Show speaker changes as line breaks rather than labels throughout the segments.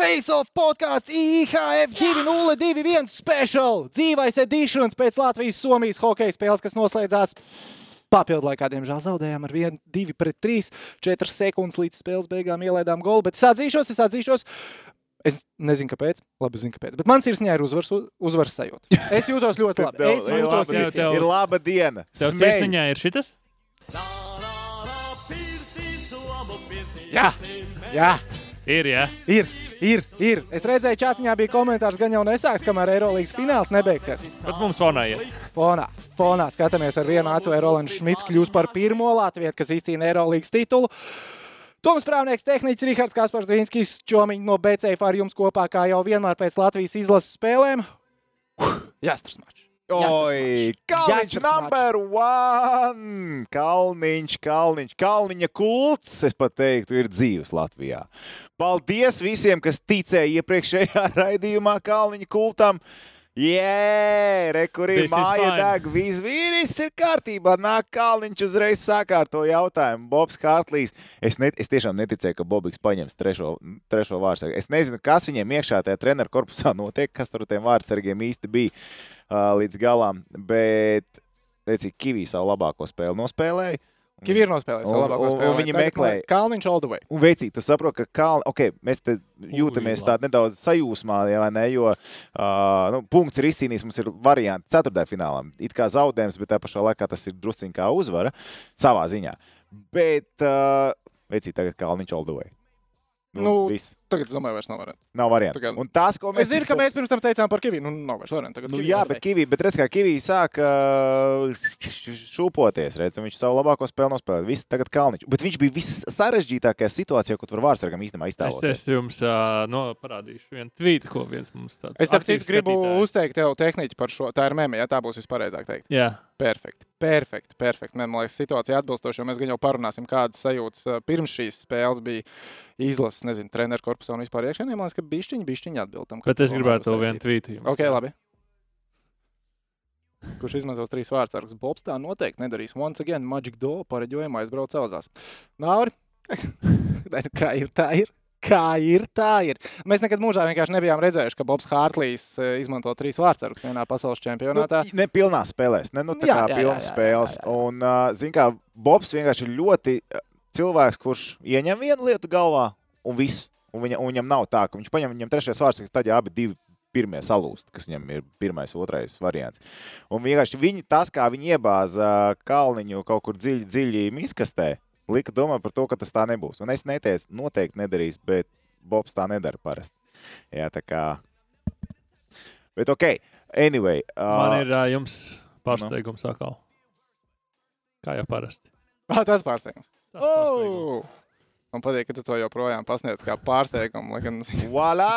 Face-off podkāsts IHF 2021 special, dzīvais editions pēc Latvijas-Somijas hokeja spēles, kas noslēdzās papildu laikā. Diemžēl zaudējām ar 1, 2 pret 3, 4 sekundes līdz spēles beigām ielaidām golu, bet es atzīšos, es atzīšos. Es nezinu, kāpēc. Labi, es zinu, kāpēc. Bet man sirsnē ir uzvaras, uzvaras sajūta. Es jūtos ļoti labi.
Tev-
Es
ir, laba,
jūtos
diena.
ļoti
jā, tev-
ir laba diena.
Tev
Smej.
sirsniņā ir šitas?
Jā, jā.
Ir, jā.
Ir, ir, ir. Es redzēju, ka čatā bija komentārs, gan jau nesāks, kamēr Eirolandes fināls nebeigsies.
Bet mums fonā ir.
Fonā, fonā skatāmies ar vienu acu, vai Rolands Šmits kļūs par pirmo latviešu, kas izcīna Eirolandes titulu. Toms Prāvnieks, tehnicis Rihards Kaspars Zvinskis, čomiņš no BCF ar jums kopā, kā jau vienmēr pēc Latvijas izlases spēlēm. Jāstras mačs.
Oi, Kalniņš,
Jāstras mačs.
number one! Kalniņš, Kalniņš, Kalniņa kults, es pat teiktu, ir dzīves Latvijā. Paldies visiem, kas ticēja iepriekšējā raidījumā Kalniņa kultam. Jē, rekurī,
This is
māja
fine.
deg, viss vīris ir kārtībā. Nāk Kalniņš uzreiz sakārto jautājumu. Bobs Hartlīs. Es, ne, es tiešām neticēju, ka Bobs paņems trešo, trešo vārdsargu. Es nezinu, kas viņiem iekšā tajā treneru korpusā notiek, kas tur ar tiem vārdsargiem īsti bija ā, līdz galam. Bet, redziet, Kivī savu labāko spēli nospēlēja. Un-
Kivi ir nospēlējis
Un-
savu labāko
un- un
spēli.
viņi
Tagad
meklēja.
Kalniņš all the way.
Un veicīgi, tu saproti, ka kalni, okay, mēs te jūtamies
labi.
tādā nedaudz sajūsmā, ja, vai ne, jo uh, nu, punkts ir izcīnījis, mums ir varianti ceturtajā finālā. It kā zaudējums, bet tajā pašā laikā tas ir drusciņā kā uzvara savā ziņā. Bet uh, veicīgi, tagad Kalniņš Oldovai. Nu, nu,
Nu,
viss.
Tagad, es domāju, vairs nav variants.
Nav variantu.
tagad-
Un tas, ko mēs
Es zinu, ka mēs pirms tam teicām par Kiviju. Nu, nav vairs variants. Tagad
Nu,
Kivi
jā,
all the
bet Kavī, bet redz, kā Kavī sāk uh, šūpoties, redz, un viņš savu labāko spēli nospēlēja. Viss tagad Kalniņš. Bet viņš bija viss sarežģītākajā situācijā, kur var vārdsargam īstenībā
Es,
iztēloties.
es jums uh, no, parādīšu vienu tvītu, ko viens mums tāds
Es tam citu
aktīvs
gribu
skatītājs.
uzteikt tev tehniķi par šo. Tā ir mēmija, ja tā būs vispareizāk teikt.
Jā,
Perfekti, perfekti. perfekti. Man liekas, situācija atbilstoša, jo mēs gan jau parunāsim, kādas sajūtas eh, pirms šīs spēles bija izlases, nezinu, treneru korpusā un vispār iekšēnē. Man liekas, ka bišķiņi, bišķiņi atbildam.
bet es gribētu to vienu tvītu. Jums.
Ok, labi. Kurš izmantos trīs vārdsargus? Bobs tā noteikti nedarīs. Once again, Magic Do pareģojumā aizbrauc auzās. Nāuri, Nē, nu kā ir, tā ir. Kā ir, tā ir. Mēs nekad mūžā vienkārši nebijām redzējuši, ka Bobs Hārtlīs eh, izmanto trīs vārdsargus vienā pasaules čempionātā.
Nu, ne pilnā spēlē, ne nu, tā
Jā, jā,
kā
jā,
pilnā
jā, jā,
spēlē.
jā, jā.
Un, uh, zināmā kā Bobs vienkārši ir ļoti uh, cilvēks, kurš ieņem vienu lietu galvā un viss. Un, viņa, un viņam nav tā, ka viņš paņem viņam trešais vārds, tad ja abi divi pirmie salūst, kas viņam ir pirmais, otrais variants. Un vienkārši viņi, tas, kā viņi iebāza Kalniņu kaut kur dziļi, dziļi miskastē, lika domāt par to, ka tas tā nebūs. Un es neteicu, noteikti nedarīs, bet Bobs tā nedara parasti. Jā, tā kā. Bet, ok, anyway. Uh,
Man ir uh, jums
Nu.
pārsteigums atkal. Kā jau parasti.
Ah, tas pārsteigums.
Tas pārsteigums.
Oh! Man patīk, ka tu to joprojām pasniedz kā pārsteigumu. Lai gan tas
Voilà!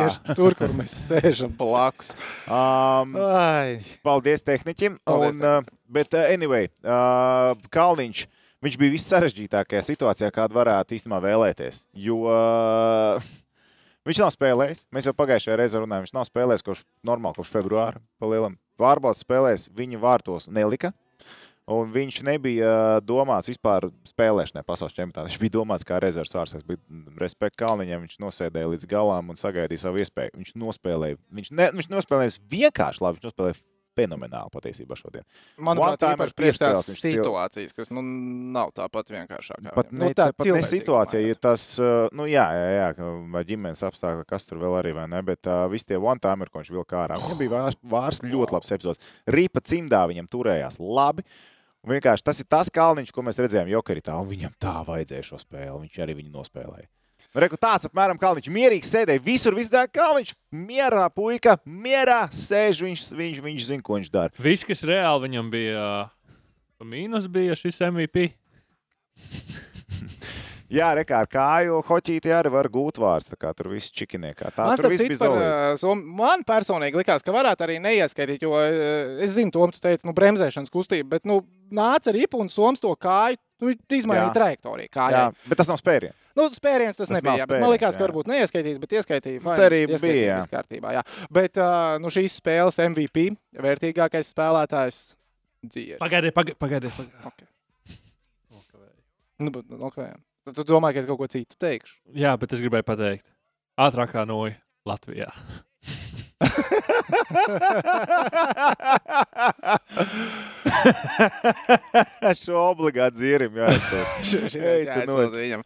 tieši tur, kur mēs sēžam blakus.
Um,
Ai.
paldies tehniķim.
Paldies
un, uh, bet, uh, anyway, uh, Kalniņš. Viņš bija viss sarežģītākajā situācijā, kādu varētu īstenībā vēlēties. Jo uh, viņš nav spēlējis. Mēs jau pagājušajā reizē runājām, viņš nav spēlējis kopš, normāli, kopš februāra. Palielam. Pārbaudas spēlēs viņa vārtos nelika. Un viņš nebija uh, domāts vispār spēlēšanai pasaules čempionātā. Viņš bija domāts kā rezerves vārsakas, bet mm, respekt Kalniņam viņš nosēdēja līdz galām un sagaidīja savu iespēju. Viņš nospēlēja, viņš, ne, viņš nospēlēja vienkārši labi, viņš nospēlēja fenomenāli patiesībā šodien.
Manuprāt,
One-timer
īpaši priekš tās
piespēles viņš cil-
situācijas, kas nu, nav tā pat vienkāršākā.
Pat
viņam.
ne, nu, tā pat ne
cilvēcīga,
situācija,
manuprāt.
ir tas, uh, nu, jā, jā, jā ka vai ģimenes apstākļi, kas tur vēl arī, vai ne, bet uh, visi tie one-timeri, ko viņš vilka ārā, viņam bija vārs, vārs ļoti labs epizods. Rīpa cimdā viņam turējās labi. Un Vienkārši tas ir tas kalniņš, ko mēs redzējām Jokeritā, un viņam tā vajadzēja šo spēli, viņš arī viņu nospēlēja. Nu, Reku, tāds apmēram kalniņš mierīgi sēdēja visur, visdēļ kalniņš mierā, puika, mierā sēž, viņš, viņš, viņš zina, ko viņš dara.
Viss, kas reāli viņam bija uh, mīnus, bija šis MVP.
Jā, rekā, ar kāju hoķīti arī var gūt vārds, tā kā tur viss čikiniekā. Tā
Man,
tur
starp
viss
citu,
bija
par,
zaudīgi.
eh, Somu- man personīgi likās, ka varētu arī neieskaitīt, jo eh, es zinu, Toms, tu teici, nu, bremzēšanas kustība, bet nu, nāca arī un Soms to kāju. Nu, viņš izmainīja
Jā.
trajektoriju. Kā
Jā,
jau
bet tas nav spēriens.
Nu, spēriens tas,
Tas
tas
nav
nebija. jā, bet Man
spēriens,
liekas, ka
jā.
varbūt neieskaitīs, bet ieskaitīja. fine,
Cerība
ieskaitīja,
bija, jā.
viss Kārtībā, jā. Bet uh, nu, šīs spēles MVP vērtīgākais spēlētājs dziedāja.
Pagaidiet, pagaidiet, pagaidiet.
Okay.
pagaidiet.
Nu, bet, nu, okay. Tu, tu domā, ka es kaut ko citu teikšu?
Jā, bet es gribēju pateikt. Ātrākā noja Latvijā.
Šo obligāti dzirim, jāsaka. Ej, tu noķer.
viņam.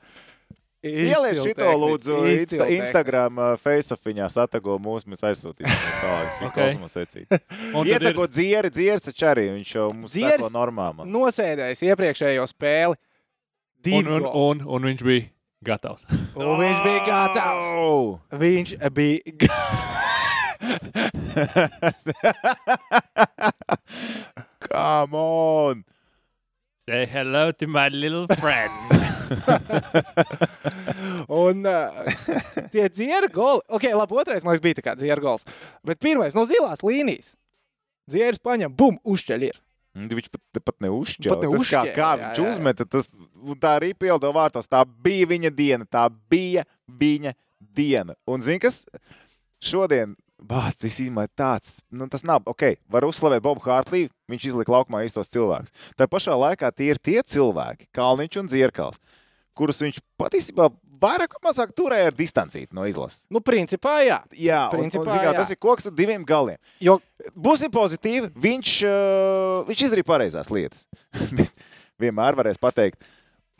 Ieliec
Izcili
šito
tehnici,
lūdzu
izcili
Insta,
tehnici.
Instagram uh, Facebookā, atago mūsu, mēs aizsūtīsim tālākus
Ok.
kosmos vecīt.
Un tad ir
Ietago dzieri, dzieris taču arī, viņš jau mums
Dzieris?
sako normālam.
Nosēdējis iepriekšējo spēli.
un,
Divi.
un,
goli.
un, un viņš bija gatavs.
Un Nu, viņš bija gatavs.
Oh!
Viņš bija gatavs.
Come on!
Say hello to my little friend.
Un uh, tie dziera goli. Ok, labi, otrais man bija tāds dziera gols. Bet pirmais no zilās līnijas. Dzieris paņem, bum, uzceļ. ir.
Un Mm, Viņš pat, pat neužķēla.
Pat
Tas, kā,
neužšķēla,
kā
jā,
viņš
jā, jā.
uzmeta, tas un tā arī pieldo vārtos. Tā bija viņa diena. Tā bija viņa diena. Un zini, kas šodien Bācis izmaina tāds, nu tas nav, ok, var uzslavēt Bobu Hārtlīvu, viņš izlika laukumā īstos cilvēkus. Tā pašā laikā tie ir tie cilvēki, Kalniņš un Zierkals, kurus viņš patiesībā vairāk vai mazāk turēja ar distancīti no izlases.
Nu, principā, jā.
Jā, Principā, un,
Principā,
un, zin, kā,
jā.
tas ir koks ar diviem galiem.
Jo
Būsim pozitīvi. Viņš, uh, viņš izdarīja pareizās lietas. Bet Vienmēr varēs pateikt,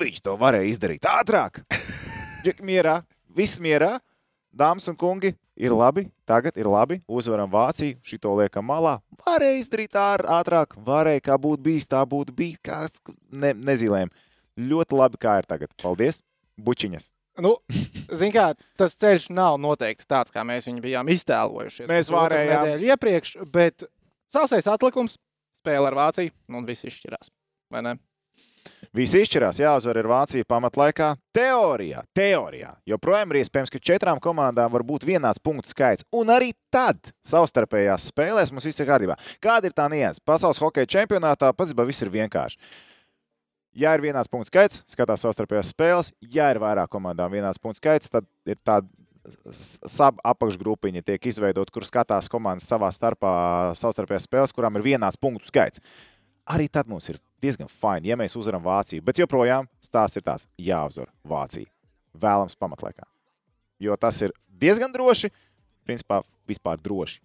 viņš to varēja izdarīt ātrāk. Čak, mierā, viss mierā, dāmas un kungi, ir labi. Tagad ir labi. Uzvaram Vāciju, šito liekam malā. Varēja izdarīt ār- ātrāk, varēja kā būtu bijis, tā būtu bijis. Kā s- ne, nezīlēm. Ļoti labi, kā ir tagad. Paldies! Bučiņas.
Nu, zin kā, tas ceļš nav noteikti tāds, kā mēs viņu bijām iztēlojušies.
Mēs
Otru
varējām.
nedēļu iepriekš, bet sausais atlikums, spēle ar Vāciju, nu, un viss izšķirās. Vai ne?
Visi izšķirās, jāuzvar ir Vācija pamatlaikā. Teorijā, teorijā joprojām ir iespējams, ka četrām komandām var būt vienāds punktu skaits. Un arī tad savstarpējās spēlēs mums viss ir kārtībā. Kāda ir tā nianses? Pasaules hokeja čempionātā patiesībā viss ir vienkārši. Ja ir vienāds punktu skaits, skatās savstarpējās spēles. Ja ir vairāk komandām vienāds punktu skaits, tad ir tāda apakšgrupiņa tiek izveidota, kur skatās komandas savā starpā savstarpējās spēles, kurām ir vienāds punktu skaits arī tad mums ir diezgan fini, ja mēs uzvaram Vāciju. Bet joprojām stāsts ir tāds, jāuzvar Vācija. Vēlams pamatlaikā. Jo tas ir diezgan droši, principā vispār droši.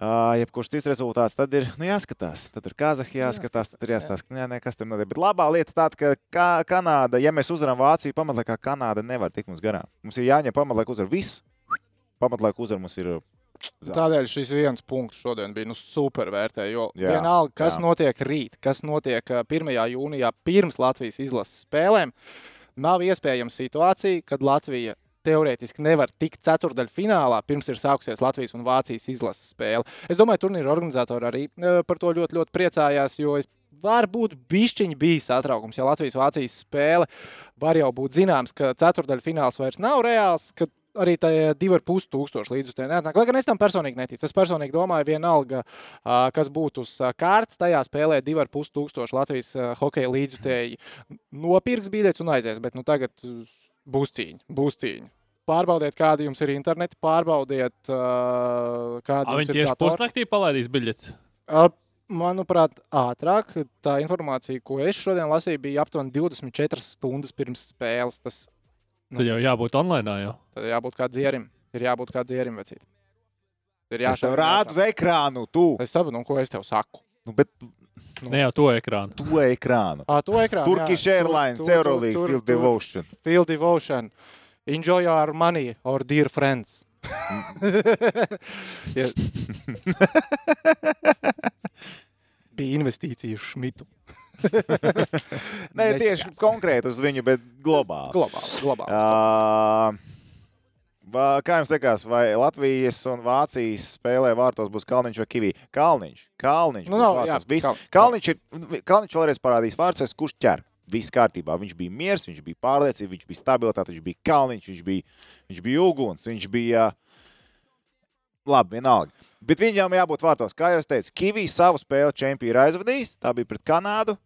Uh, jebkurš cits rezultāts, tad ir nu, jāskatās. Tad ir Kazahija, jāskatās, tad ir jāstāsta, jā, nē, kas tur notiek. Bet labā lieta tāda, ka kā Kanāda, ja mēs uzvaram Vāciju, pamatlaikā Kanāda nevar tikt mums garām. Mums ir jāņem pamatlaikā uzvar viss. Pamatlaikā uzvar mums ir. Zelts.
Tādēļ šis viens punkts šodien bija nu, supervērtējis. Jo jā,
Jā,
vienalga, kas jā.
jā.
notiek rīt, kas notiek ā, 1. jūnijā pirms Latvijas izlases spēlēm, nav iespējama situācija, kad Latvija teorētiski nevar tikt ceturdaļfinālā, pirms ir sākusies Latvijas un Vācijas izlases spēle. Es domāju, turnīra organizatori arī ā, par to ļoti, ļoti priecājās, jo es varbūt bišķiņi bija satraukums, ja Latvijas-Vācijas spēle var jau būt zināms, ka ceturdaļfināls vairs nav reāls, ka arī tajā divi ar pus tūkstoši līdzekļu neatnāk. Lai gan es tam personīgi neticu. Es personīgi domāju, vienalga, ā, kas būtu uz ā, kārtas, tajā spēlē divi ar pus tūkstoši Latvijas ā, hokeja līdzekļu nopirks biļetes un aizies. Bet nu, tagad uh, būs cīņa. Būs cīņa. Pārbaudiet, kāda jums ir interneta, pārbaudiet, ā, kāda
Ā,
jums
Viņi
ir
tieši
datori.
pusnaktī palaidīs biļetes.
Ap- Manuprāt, ātrāk tā informācija, ko es šodien lasīju, bija aptuveni 24 stundas pirms spēles. Tas Nu.
Tad jau jābūt online. Jau.
tad jābūt kā dzierim. Ir jābūt kā dzierim, vecīt. Ir
Jā, es tev
jāšauj
rādu
ātrāk.
ekrānu, tu.
Es saprotu, nu, ko es tev saku.
Nu, bet
Ne jau to ekrānu.
to ekrānu.
À, to ekrānu. jā.
Turkish
Tur-
Airlines,
tur- tur-
Euroleague,
tur-
Field
tur-
Devotion.
Field devotion. Enjoy your money or dear friends. Ja- Bija investīcija šmitu.
Ne Nu, tieši konkrēti uz viņu, bet globāli.
globāli. globāli.
Ā, vā- Kā jums liekas, vai Latvijas un Vācijas spēlē vārtos būs Kalniņš vai Kavī? Kalniņš. Kalniņš,
Nu,
būs
nav, jā,
vārtos. Viss.
Kal-
Kalniņš, ir, Kalniņš vēlreiz parādīs vārdsēs, kurš ķer. Viss kārtībā. Viņš bija miers, viņš bija pārliecība, viņš bija stabilitāte, viņš bija Kalniņš, viņš bija, viņš bija uguns, viņš bija. Labi, vienalga. Bet viņam jābūt vārtos. Kā jau es teicu, Kavīs savu spēli čempionu ir aizvadījis. Tā bija pret Kanādu.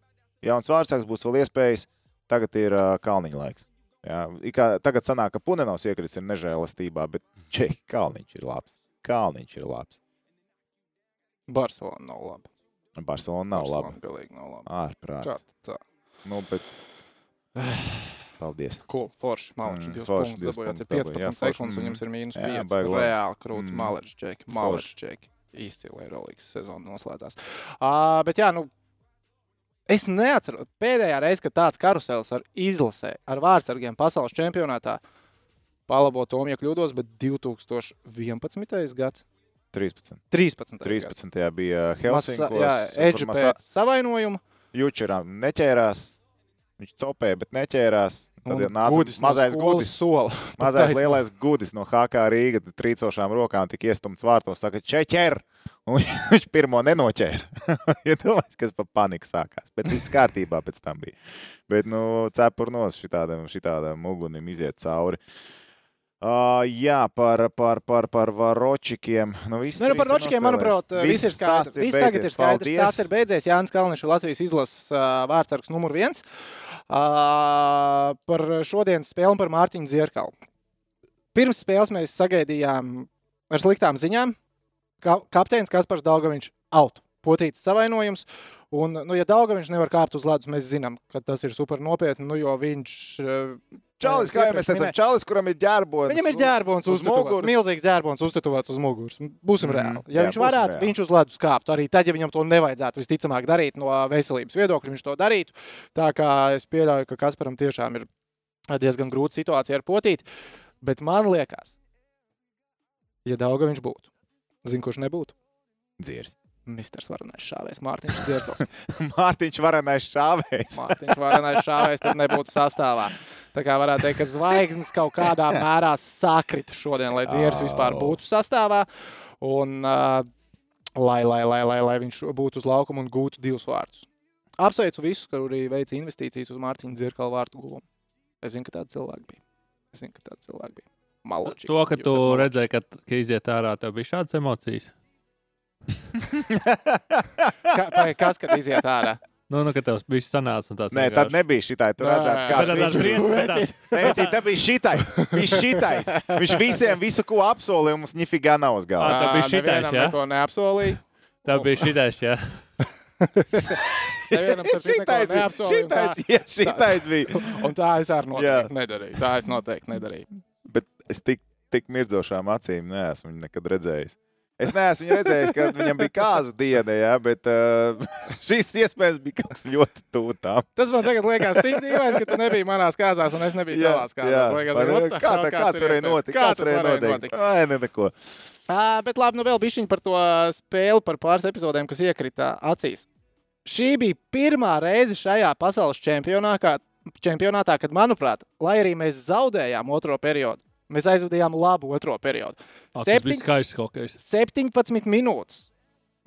Jauns vārdsēks būs vēl iespējas. Tagad ir uh, Kalniņa laiks. Jā, it kā, tagad sanāk, ka Punenovs iekritis ir nežēlastībā, bet
Mhm.
Čehi Kalniņš ir labs. Kalniņš ir labs.
Barcelona nav laba.
Barcelona nav
Barcelona
laba.
Galīgi nav laba.
Ārprāts.
Čat, tā.
Nu, bet... Paldies.
Cool, forši. Maleģis.
Mm,
Mm, divas
forši,
punktus
divas
dabūjāt. Ir
punktus
15
dabūja, jā,
dabūj,
forši,
sekundes, un
mm.
jums ir mīnus
Jā,
5.
baigi labi.
Reāli krūti.
Mm.
Mm. Maleģis, Džeki.
Forši.
Maleģis, Džeki. Īsti Eirolandes sezona noslēdzās. Uh, bet jā, nu. Es neatceros, pēdējā reize, kad tāds karusels ar izlasē, ar vārdsargiem pasaules čempionātā, palabo to, ja kļūdos, bet 2011. gads,
13.
13.
13. bija
Masa, jā,
Helsinkos.
Edža pēc savainojuma.
Jučeram neķērās. Viņš topēja, bet neķērās. Tad
un
jau nāca
Gudis no
mazais
skolas
gudis.
Sola.
Mazais
taisnība.
lielais gudis no HK Rīga ar trīcošām rokām tika iestumts vārtos. Saka, čeķer! Un viņš pirmo nenoķēra. Iedomājieties, kas pa paniku sākās. Bet viss kārtībā pēc tam bija. Bet, nu, cepurnos šitādam, šitādam ugunim iziet cauri. Uh, jā, par, par, par, par varočikiem. Nu, viss
Nē, nu,
trīs
par
ir
ročkiem, manuprāt, eh,
nospēlējuši.
viss ir skaidrs.
stāsts
Viss tagad ir
beidzies.
skaidrs.
Paldies.
Stāsts ir beidzies. Jānis Kalniņš, ir Latvijas izlases ā, vārdsargs numur viens. Ā, Par šodienas spēli un par Mārtiņu Zierkalu. Pirms spēles mēs sagaidījām ar sliktām ziņām. Ka- Kapteinis Kaspars Daugaviņš out. Potīts savainojums. Un, nu, ja Daugaviņš nevar kāpt uz ledus, mēs zinām, ka tas ir super nopietni, nu, jo viņš... eh, ā,
Čalis, kā jau mēs esam, Čalis, kuram ir ģērbonis.
Viņam ir ģērbons
uz
uz muguras.
muguras.
Milzīgs ģērbons uztetovēts uz muguras. Būsim
Mhm.
reāli. Ja
Jā,
jā, viņš
būsim
varētu,
reāli.
viņš uz ledus kāptu. Arī tad, ja viņam to nevajadzētu visticamāk darīt no veselības viedokļa, viņš to darītu. Tā kā es pieļauju, ka Kasparam tiešām ir diezgan grūta situācija ar potīt. Bet man liekas, ja Dauga viņš būtu, zinu, kurš nebūtu.
Dzirs.
Misters Varanais šāvējs, Mārtiņš Dzirkals.
Mārtiņš Varanais šāvējs.
Mārtiņš Varanais šāvējs tad nebūtu sastāvā. Tā kā varētu teikt, ka zvaigznes kaut kādā mērā sakrita šodien, lai dzieras vispār
Au.
būtu sastāvā. Un, uh, lai, lai, lai, lai, lai viņš būtu uz laukuma un gūtu divus vārdus. Apsveicu visus, kuri veica investīcijas uz Mārtiņa Zirkala vārtu guvumu. Es zinu, ka tādi cilvēki bija. Es zinu, ka tādi cilvēki bija. Maloči,
To, ka tu redzēji, ka, ka iziet ārā, tev bija šādas emocijas.
Ka, vai kas, kad iziet ārā?
Nu, nu ka tev viss sanāca un tāds.
Nē, tad nebija šitā. Tur
Nē.
redzēt,
Tad
kāds
tāds
viņš
viens, bet tāds-
Nē, cik, tā bija šitais. Viņš šitais. Viņš visiem visu, ko apsolīja, mums nifigā nav uz galda.
Ā, tā bija
Ā,
šitais,
nevienam
jā?
Neko neapsolīju.
Tā bija šitais, jā.
Nevienam starp citu neko
Šitais bija.
neapsolīju, un tā-
Šitais, jā, šitais bija.
Un tā es arī
Jā.
noteikti nedarīju. Tā es noteikti nedarīju.
Bet es tik, tik mirdzošām acīm neesmu viņu nekad redzējis. Es neesmu viņu redzējis, kad viņam bija kāzu diena, jā, bet uh, šis iespējams bija kaut kas ļoti tuvu tam.
Tas man tagad liekas, tik dīvaini, ka tu nebiji manās kārzās, un es nebiju tavās kārzās. Liekas,
par-
what the
nu, kā
hell,
tā, kāds
ir
varēja
iespējams?
notikt?
Kā
Kāds
tas
varēja notikt? Ai, ne, neko.
Ā, Bet labi, nu vēl bišķiņ par to spēli, par pāris epizodēm, kas iekrita acīs. Šī bija pirmā reize šajā pasaules čempionātā, čempionātā, kad, manuprāt, lai arī mēs zaudējām otro periodu, mēs aizvadījām labu otro periodu.
Ak, Tas
Septiņ-
bija skaists kaut kas.
17 minūtes.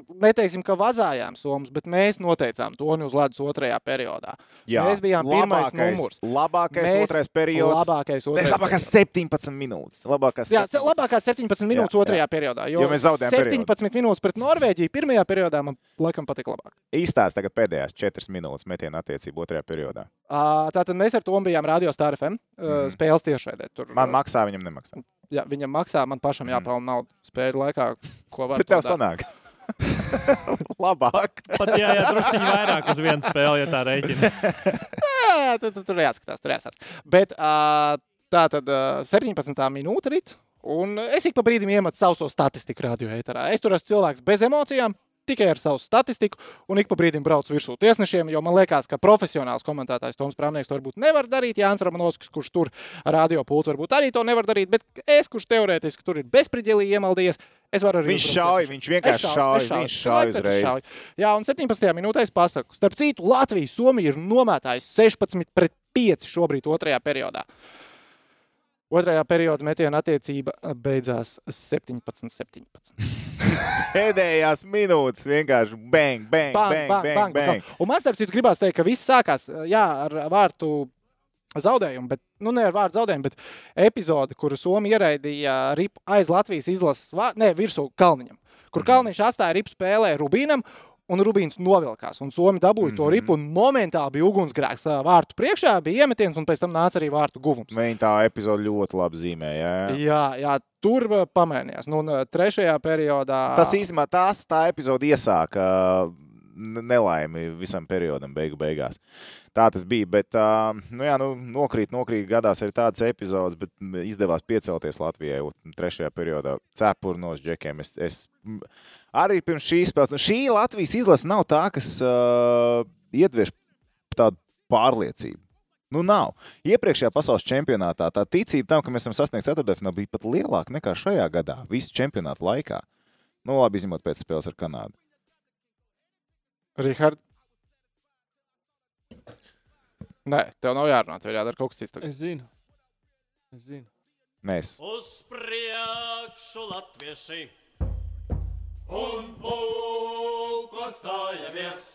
Neteiksim, ka vazājām somas, bet mēs noteicām toni uz ledus otrajā periodā. Mēs bijām pirmais
labākais-
numurs.
Labākais
Mēs-
otrais periods.
Labākais
Nē,
otrais.
labākās 17 minūtes. Labākās
Jā, se-
17.
labākās 17 minūtes
Jā,
jā, otrajā jā. periodā. Jo,
Jo mēs zaudējām
17 minūtes pret Norvēģiju pirmajā periodā man laikam patika labāk.
Īstās tagad pēdējās 4 minūtes metiena attiecību otrajā periodā.
Uh, tātad mēs ar to bijām Radio Star FM uh,
Mhm.
spēles tiešraidē. Tur,
Man
ā,
maksā, viņam nemaksā.
jā, viņam maksā, man pašam
Mhm.
jāpelnā naudu spēļu laikā, ko var.
Bet tev sanāk. Labāk.
Pat jā, jā druskuļi vairāk uz vienu spēli, ja tā rēķina.
Jā, tur, tur, tur jāskatās, tur jāskatās. Bet uh, tā tad uh, 17. minūte rit, un es ik pa brīdim iemetu savu so statistiku radio ēterā. Es tur esmu cilvēks bez emocijām. Tikai ar savu statistiku, un ik pa brīdim braucu virsū tiesnešiem, jo man liekas, ka profesionāls komentētājs Toms Prāvnieks to varbūt nevar darīt. Jānis Ramanovskis, kurš tur radio pultu, varbūt arī to nevar darīt, bet es, kurš teorētiski tur ir bezspridzilīgi iemaldījies, es varu arī.
Viņš
uzbrukt
šauj,
tiesnešiem.
viņš
Es
vienkārši
šauju,
šauj.
es šauju.
Viņš šauj
Cilvēks taču
uzreiz.
šauj. Jā, un 17. minūtē es pasaku, starp citu, Latvija, Somija ir nomētājis 16 pret 5 šobrīd otrajā periodā. Otrajā periodā metiena attiecība beidzās 17-17.
Pēdējās minūtes vienkārši bang, bang, bang, bang, bang.
Un man, starp citu, gribās teikt, ka viss sākās jā, ar vārtu zaudējumu, bet nu, ne ar vārdu zaudējumu, bet epizode, kuru Somija ieraidīja ripu aiz Latvijas izlases, vā- ne virsū Kalniņam, kur
Mhm.
Kalniņš atstāja ripu spēlē Rubīnam. Un Rubīns novilkās, un Somija dabūja to
Mhm.
ripu. un Momentāli bija ugunsgrēks ā, vārtu priekšā, bija iemetiens, un pēc tam nāca arī vārtu guvums.
Viņa tā epizode ļoti labi zīmē. Jā.
Jā, jā tur ā, pamainījās. Nu, un ā, trešajā periodā
Tas īstenībā tās tā epizode iesāka. ne- nelaimi visam periodam, beigu beigās. Tā tas bija. Bet, uh, nu, jā, nu, nokrīt, nokrīt, gadās arī tādas epizodes, bet mm, izdevās piecelties Latvijai u- trešajā periodā. Cepurnos džekiem. Es, es mm, arī pirms šīs spēles, nu, šī Latvijas izlase nav tā, kas uh, iedviež tādu pārliecību. Nu, nav. Iepriekšējā pasaules čempionātā tā ticība tam, ka mēs esam sasnieguši ceturtdaļfinālu, bija pat lielāka nekā šajā gadā, visu čempionātu laikā. Nu, labi, izņemot pēc spēles ar Kanādu.
Rihard. Nē, tev nav jārunā, tev ir jādara kaut kas cits. tagad.
Es zinu. Es zinu.
Mēs
Uz priekšu latvieši un pulko stājamies,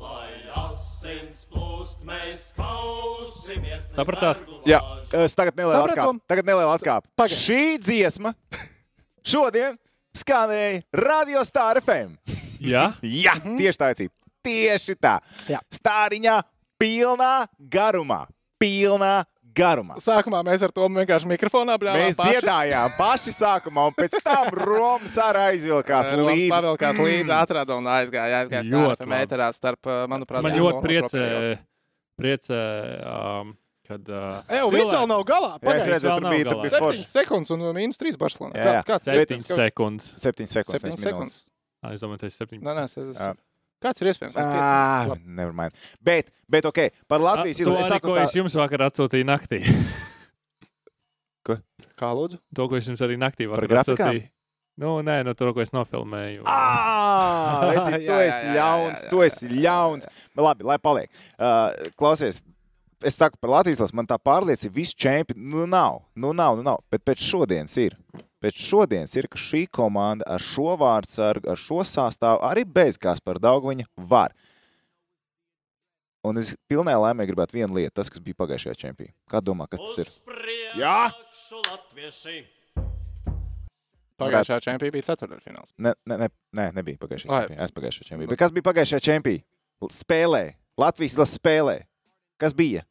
lai asins plūst, mēs kausimies. līdz
Sapratāt?
vergu
Jā,
lāžu.
es tagad nelielu
Sapratam.
atkāpi. Tagad nelielu atkāpi.
pagaid.
Šī dziesma šodien skanēja Radio Star FM.
Jā,
Jā, tieši tā, Ecīt. Tieši tā.
Jā.
Stāriņā pilnā garumā. Pilnā garumā.
Sākumā mēs ar to vienkārši mikrofonā blāvām.
Mēs dziedājām paši sākumā, un pēc tam Romas arī aizvilkās
Roms
līdzi. Mm.
pavilkās līdzi, atrada un aizgāja. Aizgāja
Ļoti
ļoti
labi.
metrā starp, uh, manuprāt,
man
Zemgolu
ļoti
un
priecē,
Properiju.
priecē um, kad. Uh,
Ej, viss vēl nav galā.
Jā, es
Pareizi,
redzēju,
vēl
tur
nav
bija, tur
galā.
bija forši.
7 sekundes un mīnus 3 Barcelona.
Jā, jā.
Kā- Kāds ir
7
iespējams? ka-
sekundes.
7 sekundes.
Septiņas
nevis minūtes.
sekundes.
Ā, Es domāju, tas ir 7.
Nē, nē, es- es-
Jā.
Kāds ir iespējams? Vai pieci?
Ah,
Labi.
nevermind. Bet, bet, ok, par Latvijas
to,
izlasi.
arī, ko es jums vakar atsūtīju naktī.
Kā lūdzu?
to, ko es jums arī naktī
Par
vakar
grafikām?
atsūtīju. Nu, nē, no to, ko es nofilmēju.
Ah,
Jā,
redzi, tu
jā,
esi
jā, jā,
ļauns,
jā,
tu
jā,
esi
jā, jā,
ļauns. Labi, lai paliek. Uh, Klausies, es saku par Latvijas lasu, man tā pārliecība, visu čempionu nu nav, nu nav, nu nav, bet pēc šodienas ir. Pēc šodienas ir, ka šī komanda ar šo vārdsargu, ar šo sastāvu, arī bez Kaspara Daugviņa var. Un es pilnē laimē gribētu vienu lietu, tas, kas bija pagājušajā čempionā. Kā domā, kas tas ir?
Uz
Jā.
priekšu latvieši.
Pagājušā čempionā bija ceturtdaļfināls.
Ne, ne, ne, ne nebija pagājušajā
Ai.
čempionā. Es pagājušajā čempionā. Bet kas bija pagājušajā čempionā? Spēlē. Latvijas izlases spēlē. Kas bija?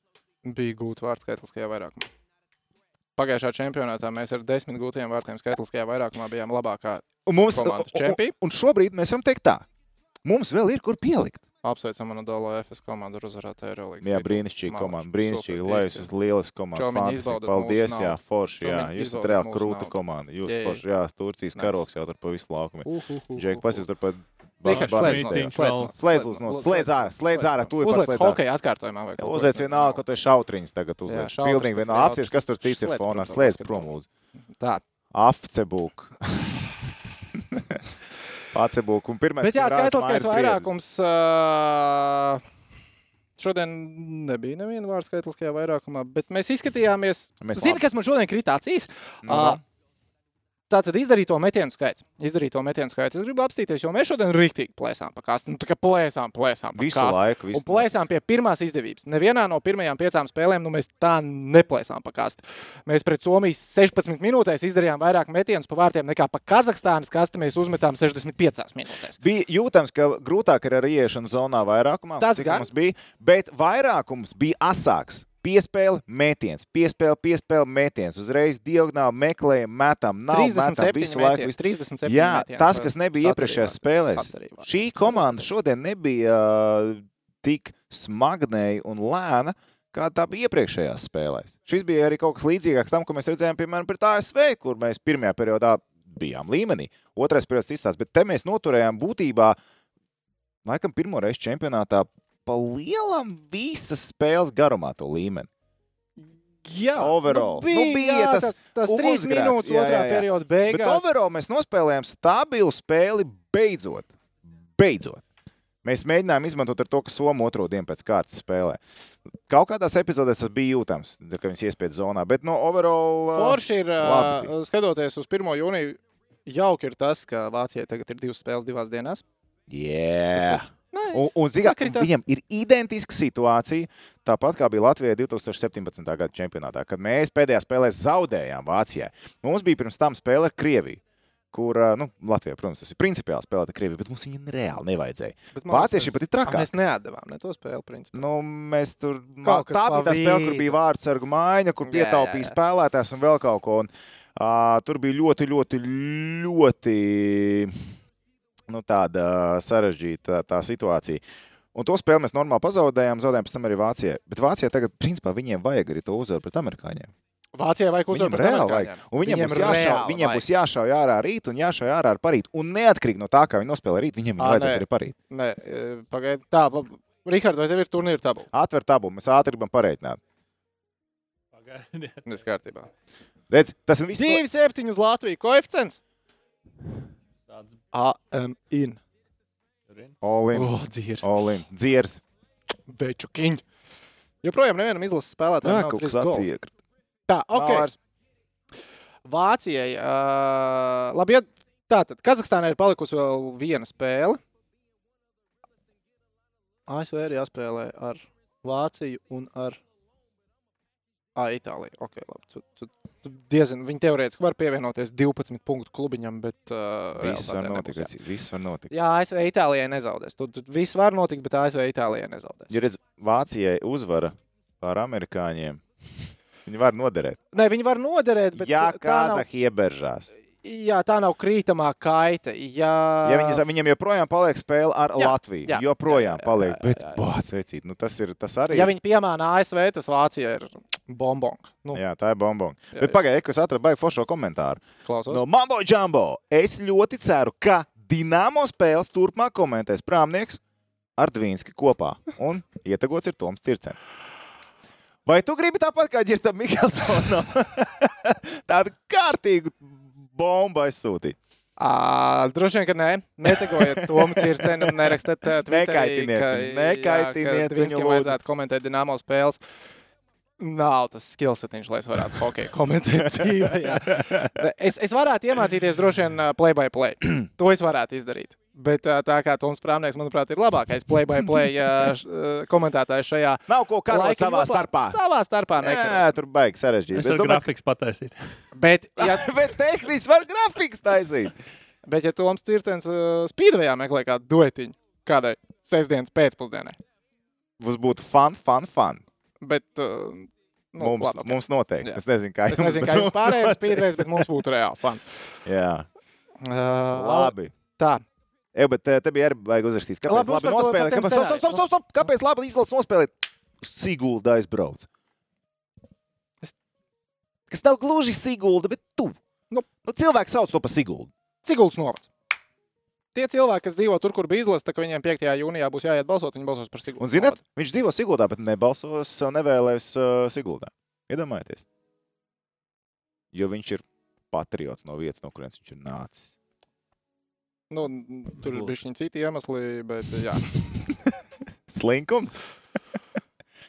Bija gūta vārdskaitliskajā vairākumā. Pagājušā čempionātā mēs ar desmit gūtajiem vārtiem skaitliskajā vairākumā bijām labākā.
Un, mums, un,
Komandas čempī.
un, un šobrīd mēs varam teikt tā. Mums vēl ir kur pielikt.
Apsveicam manu dolo FS komandu ar uzvarētu Eirolandes.
Jā, brīnišķīgi komanda. Brīnišķīgi. Lai es esmu lieliski komanda.
Čomiņi
fantastiski,
izbaudat
Paldies,
mūsu
jā,
naudu.
forši. Jā.
Čomiņi
Jūs esat
izbaudat
reāli
mūsu
krūta
naudu.
komanda. Jūs
Jā, jā.
forši. Jā, Turcijas
Nice.
karoks jau tur pa visu laukumu. Džek, pasies tur pat.
Rihards, slēdz no-
Mītiņš
slēdz
vēl.
no-
Slēdz uz nos. Slēdz ārā. Slēdz ārā. Tu ir
Uzliec
paslēdz ārā.
hokeja atkārtojumā vai kaut ko.
Uzliec vienalga, ko tu esi šautriņas tagad
Jā,
uzliec.
šautras,
Pilnīgi
tas
vienalga.
ir
Apsies, kas tur cits ir
Slēdz
fonā.
prom,
Slēdz
basketbolu.
prom, lūdzu.
Tā.
Afcebuk. Pacebuk. Un pirmais,
Bet jā,
kas ir rāds,
skaitliskais
Mairis
vairākums. ā, Šodien nebija neviena vārda skaitliskajā vairākumā, bet mēs izskatījāmies.
Mēs
Zini,
labi.
kas man šodien krīt acīs?
Briedis. Nu,
Ā, Tā tad izdarīto metienu skaits. Izdarīto metienu skaits. Es gribu apstīties, jo mēs šodien rīktīgi plēsām pa kastu. Nu, tā kā plēsām, plēsām.
nu,
pa
Visu
kastu.
laiku.
Un
Visu
plēsām pie pirmās izdevības. Nevienā no pirmajām piecām spēlēm nu, mēs tā neplēsām pa kastu. Mēs pret Somiju 16 minūtēs izdarījām vairāk metienus pa vārtiem nekā pa Kazahstānas kastu. Mēs uzmetām 65 minūtēs.
Bija jūtams, ka grūtāk ir ar ieiešanu zonā vairākumā.
Tas
cik
gan.
mums bija, bet vairākums bija asāks. Piespēle, mētījums, piespēle, piespēle, mētījums. Uzreiz diagonāli meklējam, metam, nav metam
37
visu
metieni,
laiku. Visu.
37
Jā,
metieni
tas,
pa
kas nebija
saturībā,
iepriekšējās spēlēs.
saturībā.
Šī komanda šodien nebija uh, tik smagnēja un lēna, kā tā bija iepriekšējās spēlēs. Šis bija arī kaut kas līdzīgāks tam, ko mēs redzējām, piemēram, pret ASV, kur mēs pirmajā periodā bijām līmenī, otrais periods izstāsts, bet te mēs noturējām būtībā, laikam, pirmo reizi čempionātā pa lielam visas spēles garumā to līmeni.
Jā,
Overall.
Nu bija,
Nu bija
jā,
tas
tas, tas trīs
uzgrēks,
minūtes
jā, jā,
otrā
jā.
perioda
Bet
beigās.
overall mēs nospēlējām stabilu spēli beidzot. Beidzot. Mēs mēģinājām izmantot ar to, ka Somija otro dienu pēc kārtas spēlē. Kaut kādās epizodēs tas bija jūtams, ka viņas iespieda zonā, bet no overall. uh,
Forši ir,
Labi
uh, skatoties uz 1. jūniju, jauki ir tas, ka Vācijai tagad ir divas spēles divās dienās. nu,
Yeah.
Nē,
Un, un zigā,
sakritā.
viņam ir identiska situācija, tāpat kā bija Latvijai 2017. gada čempionātā, kad mēs pēdējā spēlē zaudējām Vācijai. Mums bija pirms tam spēle ar Krieviju, kur ā, nu, Latvijai, protams, tas ir principiāli spēlēt ar Krieviju, bet mums viņa reāli nevajadzēja. Vācieši pat ir trakāki.
Mēs neatdevām ne to spēli, principā.
Nu, mēs tur mā,
Kaut kas
tā
pa
bija tā spēle, kur
vidu.
bija vārdsargu mājiņa, kur
Jā, jā,
pietaupīja
jā.
spēlētājs un vēl kaut ko. Un, uh, tur bija ļoti, ļoti, ļoti nu, tāda sarežģīta tā situācija. Un to spēli mēs normāli pazaudējām, zaudējām pēc tam arī Vācijai. Bet Vācijai tagad, principā, viņiem vajag arī to uzvaru pret amerikāņiem.
Vācijai vajag
Viņiem
uzvarēt.
reāli vajag. Un viņiem, viņiem būs jāšauj, viņiem būs jāšauj ārā rīt un jāšauj ārā ar parīt. Un neatkarīgi no tā, kā viņi nospēlē rīt, viņiem
Ā,
vajadzēs
nē.
arī parīt.
Nē, e, pagaidi. Tā, labi. Rihards, vai tev ir turnīra tabula?
Atver tabu, mēs ātri gribam pareiķināt.
Pagaidiet.
Viss kārtībā.
Redz, tas ir viss.
2,7 uz Latviju. Koeficients?
Tāds
AM in.
brin.
Olim,
O, dzirs.
olim, dziers.
Beču kiņ. Joprojām nevienam izlases spēlētājam.
Jā,
nav
kaut
trīs
kas
golu.
atsiekri.
Tā,
Nav
ok.
vairs.
Vācijai. Uh, labi, ja, tātad Kazahstānai ir palikusi vēl viena spēle. ASV ir jāspēlē ar Vāciju un ar à, Itāliju. Okay, labi, tu, tu, tu diezin, viņi teorētiski var pievienoties 12 punktu klubiņam, bet uh,
Viss var
realitātē
notikt.
nebūs, jā.
redzi, Viss var notikt.
Jā, ASV Itālijai nezaudēs. Tur tu, viss var notikt, bet ASV Itālijai nezaudēs.
Ja redz, Vācijai uzvara pār amerikāņiem, viņi var noderēt.
Nē, viņi var noderēt, bet
Ja
tā nav,
Kazahija ieberžās,
jā, tā nav krītamā kaita. Jā,
ja viņi, za- viņiem joprojām paliek spēle ar
Jā,
Latviju,
jā, jā,
joprojām
jā,
paliek.
jā,
Bet,
jā, jā.
bāc, vecīt, nu tas ir tas arī.
Ja viņi piemēna ASV, tas Vācija ir bombonga. Nu,
Jā, tā ir bombonga.
jā, Nu,
Bet pagaidiet, kas atrada baigi foršo komentāru.
klausos.
No Mambo Jumbo, es ļoti ceru, ka Dienāmo spēles turpmāk komentēs Prāmnieks ar Dvīnski kopā. Un ietegots ir Toms Circens. Vai tu gribi tāpat kā Girta Mikkelsona? Tādu kārtīgu bombu aizsūtīt.
À, droši vien, ka nē. Netegojiet to mūciņu, nerakstiet to
Nekaitiniet viņu, nekaitiniet viņu,
Viņam
lūdzu.
vajadzētu komentēt Dienāmo spēles. Nav tas skillsetiņš, lai es varētu hokeju komentēt. dzīvē, jā. es, es varētu iemācīties droši vien ā, play by play. to es varētu izdarīt. Bet ā, tā kā Toms Prāmnieks, manuprāt, ir labākais play by play ā, š- ā, komentētājs šajā
Nav ko karot
laika
savā
joslā.
starpā.
Savā starpā
Jā,
nekaros.
tur baigi sarežģīti. Es
Es varu
domāju,
grafiks pataisīt.
Bet, ja
ka- Bet tehniski var grafiks taisīt.
Bet, ja Toms Cirtens uh, spīdvejā meklē kādu duetiņu, kādai sestdienas pēcpusdienai,
Mums būtu fun, fun, fun.
bet uh, nu,
Mums,
labi, ok.
mums noteikti.
Jā.
Es nezinu, kā
es nezinu, kā jums pārējiem spīdvejs, bet mums būtu reāli fun.
Jā,
Uh,
labi.
Tā,
Jā, bet eh, te, te bija arī baigi uzrakstīt, kāpēc
Labi,
labi, labi
uzsver to par
nospēlēt,
tiem
kāpēc, stop, stop, stop,
scenārijiem.
stop, stop, kāpēc labi izlases nospēlēt. Sigulda aizbrauc.
Es-
Kas nav gluži Sigulda, bet tu. Nu, nu, cilvēks sauc to par Siguldu.
Ciguls novads. Tie cilvēki, kas dzīvo tur, kur bija izlasta, ka viņiem 5. jūnijā būs jāiet balsot, viņi balsos par Sigulu.
Un, zināt, viņš dzīvo Siguldā, bet nebalsos, nevēlēs uh, Siguldā. Iedomājieties. Jo viņš ir patriots no vietas, no kurienes viņš ir nācis.
nu, n- tur ir bijuši citi iemesli, bet jā.
Slinkums.